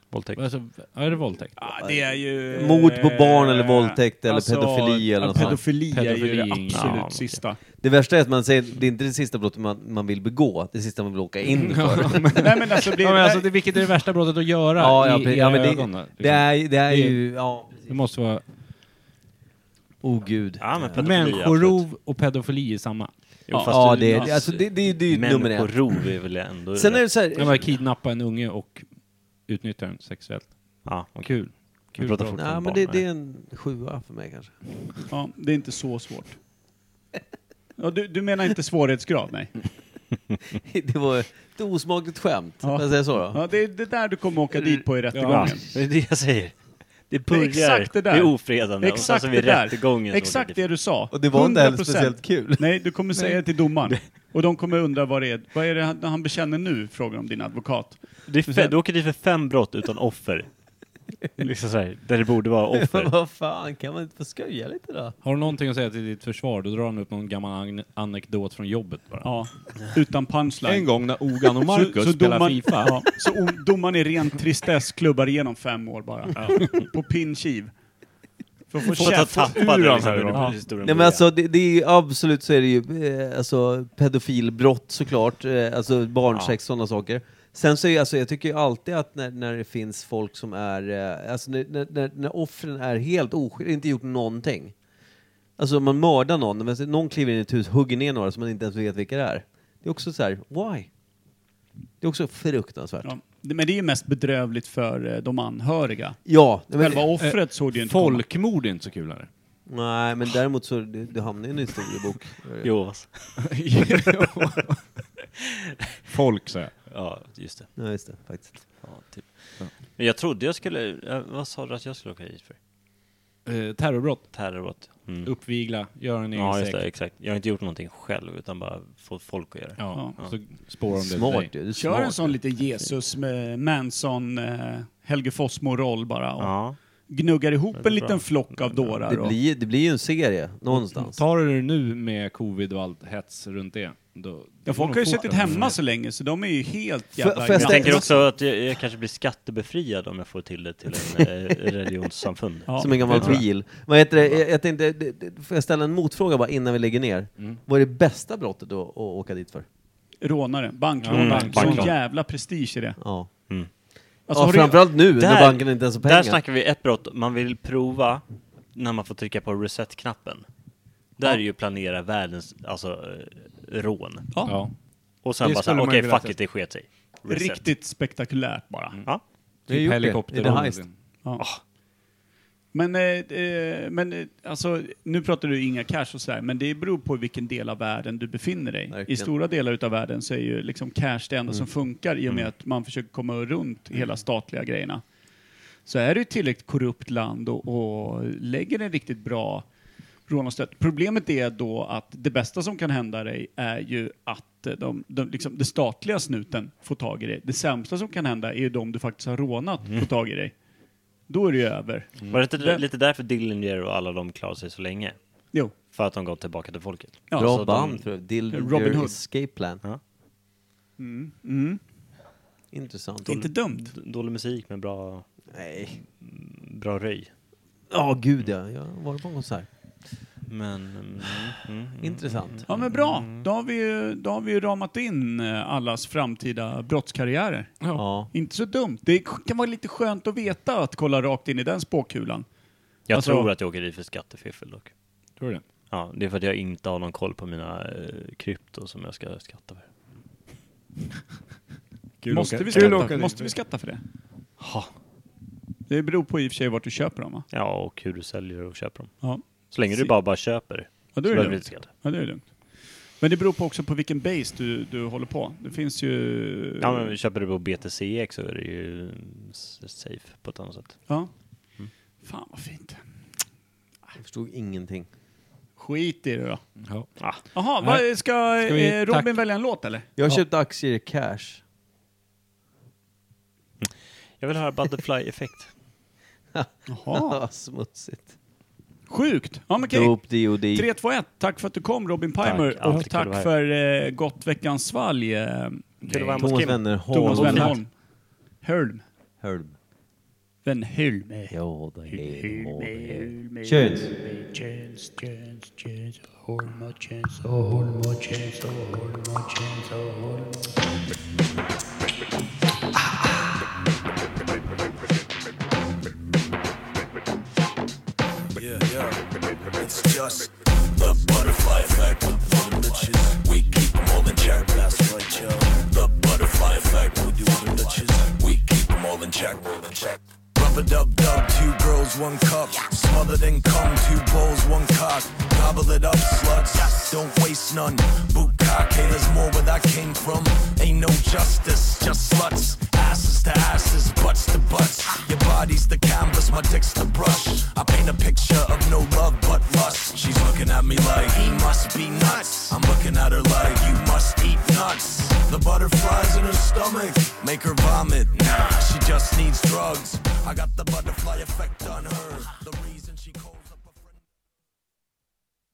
Våldtäkt. Alltså, är det våldtäkt? Ja, det är ju... Mord på barn eller eh, våldtäkt eller alltså, pedofili eller något ja, sånt. pedofili, Pedofili är är ju det ingen- absolut Ja, okej. sista. Det värsta är att man säger, det är inte det sista brottet man, man vill begå, det sista man vill åka Mm. in för. Nej men alltså, det, Ja, men alltså, det, vilket är det värsta brottet att göra ja, ja, i pre- era ja, men ögon? det, då, det, är, det är Det- ju, ja, det måste vara oh gud. Ja, men pedofili, absolut. människorov och pedofili i samma. Jo, fast Ja, du- det, är- alltså, det, det, det är ju nummer ett. Människorov är väl ändå... Sen är det så Jag bara här, kidnappa en unge och utnyttja den sexuellt. Ja, okej. Kul. Kul Vi pratar brott. fort. nej, men det, det är en sjua för mig kanske. ja, det är inte så svårt. Ja, du, du menar inte svårighetsgrad, nej? Mm. Det var ett osmakligt skämt, Ja. får jag säga så då? Ja, det är det där du kommer åka dit på i Mm. Ja, rättegången. det är det jag säger. Det är börjar exakt det där. vid ofredande och sen Exakt så det vid där. rättegången. Exakt det du sa. Och det var inte heller 100%. speciellt kul. Nej, du kommer säga det till domaren. Och de kommer undra vad det är, vad är det han, han bekänner nu, frågar om din advokat. det är fe- du åker dit för fem brott utan offer. liksom så här, där det borde vara offer. Vad fan, kan man inte få skoja lite då? Har du någonting att säga till ditt försvar, då drar han upp någon gammal an- anekdot från jobbet bara. Ja, utan punchline. En gång när Ogan och Marcus spelade Fifa. Ja, så o- domaren i ren tristess klubbar igenom fem år bara. På pinnkiv. För att få Fått att käft. tappa ur dem det här liksom, då. hur Ja. historien Nej men börjar. alltså, det, det är ju, absolut så är det ju eh, alltså, pedofilbrott såklart, eh, alltså barnsex, sådana saker. Sen så är alltså, jag tycker ju alltid att när, när det finns folk som är, eh, alltså när, när, när, när offren är helt oskyldiga, inte gjort någonting. Alltså om man mördar någon, men så- någon kliver in i ett hus, hugger ner några som man inte ens vet vilka det är. Det är också så här, why? Det är också fruktansvärt. Ja, Ja. Men det är ju mest bedrövligt för eh, de anhöriga. nej, men, Själva offret såg det ju inte komma. Folkmord är inte så kul eller? nej men däremot så, det, det hamnar ju i en historiebok. Jo, alltså. Folk säger jag. ja, just det. Ja, just det, faktiskt. Ja, typ. Men jag trodde jag skulle... eh, Vad sa du att jag skulle åka hit för? Eh, terrorbrott. Terrorbrott? Mm. Uppvigla, göra en egen Ja, just säck. det. Exakt. Jag har inte gjort någonting själv, utan bara fått folk att göra det. Ja, och så spårar de det Smart till dig. ju, du är Kör en smart. sån lite Jesus med Manson, eh, Helge Fossmo-roll bara. Och Ja. Gnuggar ihop en bra. liten flock av dårar. Det och- blir, det blir ju en serie någonstans. Mm. Tar du det nu med covid och allt hets runt det, då... Ja, folk har ju suttit hemma så länge så de är ju helt jävla... får jag Jag ställa- tänker också att jag, jag kanske blir skattebefriad om jag får till det till en eh, religionssamfund. Ja, Som en gammal det tror jag. pil. Vad heter det? Jag, jag tänkte, det- det- får jag ställa en motfråga bara innan vi lägger ner? Mm. Vad är det bästa brottet då att åka dit för? Rånare, bankrånare. Mm, Sån bankrån. jävla prestige i det. Ja, Alltså, ja har du- framförallt nu när Där- banken inte ens har Där pengar. snackar vi ett brott man vill prova när man får trycka på reset-knappen. Där är ju planera världens alltså, eh, rån. Ja. Och sen Det bara skulle såhär, man okej vilja fuck se. it, det sket sig. Reset. Riktigt spektakulärt bara. Ja. Vi har gjort Typ det. helikopter. Är det heist? Ja. Men, eh, eh, men eh, alltså, nu pratar du inga cash och sådär, men det beror på vilken del av världen du befinner dig. I Verkligen. stora delar utav världen så är ju liksom cash det enda som funkar i och med att man försöker komma runt hela statliga grejerna. Så är du ett tillräckligt korrupt land och, och lägger en riktigt bra rån och stöd. Problemet är då att det bästa som kan hända dig är ju att eh, de, de, liksom, det statliga snuten får tag i dig. Det sämsta som kan hända är ju de du faktiskt har rånat får tag i dig. Då är det ju över. Mm. Var det inte Det- lite därför Dillinger och alla de klarade sig så länge? Jo. För att de gav tillbaka till folket. Ja, Bra så band de- för Dill Robin Robin Hood. Escape Plan. Ja. Mm, Intressant. Inte dumt. D- Dålig musik med bra, Nej. bra röj. Ja, gud ja. Jag har varit på en konsert. Men... Mm, mm, mm. Intressant. Ja men bra, då har vi ju, då har vi ju ramat in eh, allas framtida brottskarriärer. Ja. Inte så dumt. Det kan vara lite skönt att veta att kolla rakt in i den spåkulan. Jag Alltså- tror att jag åker dit för skattefiffel dock. Tror du det? Ja, det är för att jag inte har någon koll på mina eh, krypto som jag ska skatta för. Måste vi, Kul att åka skatta, dit. måste vi skatta för det? Ha. Det beror på i och för sig vart du köper dem va? Ja, och hur du säljer och köper dem. Ja, Så länge du Se- bara, bara köper ja så då är behöver det du lugnt. inte skatta. Ja, det är lugnt. Men det beror på också på vilken base du, du håller på. Det finns ju... Ja, men köper du på BTCX så är det ju mm, s- safe på ett annat sätt. Ja. Fan vad fint. Jag förstod ingenting. Skit i det då. Ja. Ah. Jaha, Nej. vad, ska, Ska vi- eh, Robin tack. välja en låt eller? Jag har köpt aktier i cash. Jag vill höra Butterfly Effect. Jaha, Smutsigt. sjukt. Ja men okej. Dope D.O.D. 3, 2, 1. Tack för att du kom Robin Pimer. Tack, alltid och kul att vara tack här. för eh, gott veckans svalg. Eh, Kul att vara hemma hos Thomas Kim. Wennerholm. Thomas Och- Wennerholm. Hölm. Hölm. Wennerholm. Ja, det är det. Köns. Rubber dub dub, two girls, one cup. Smothered in cum, two bowls, one cock. Gobble it up, sluts. Don't waste none. Bukkake, there's more where I came from. Ain't no justice, just sluts. Asses to asses, butts to butts. Your body's the canvas, my dick's the brush. I paint a picture of no love but lust. She's looking at me like he must be nuts. I'm looking at her like you must eat nuts. The butterflies in her stomach make her vomit. Nah, she just needs drugs. I got the butterfly effect.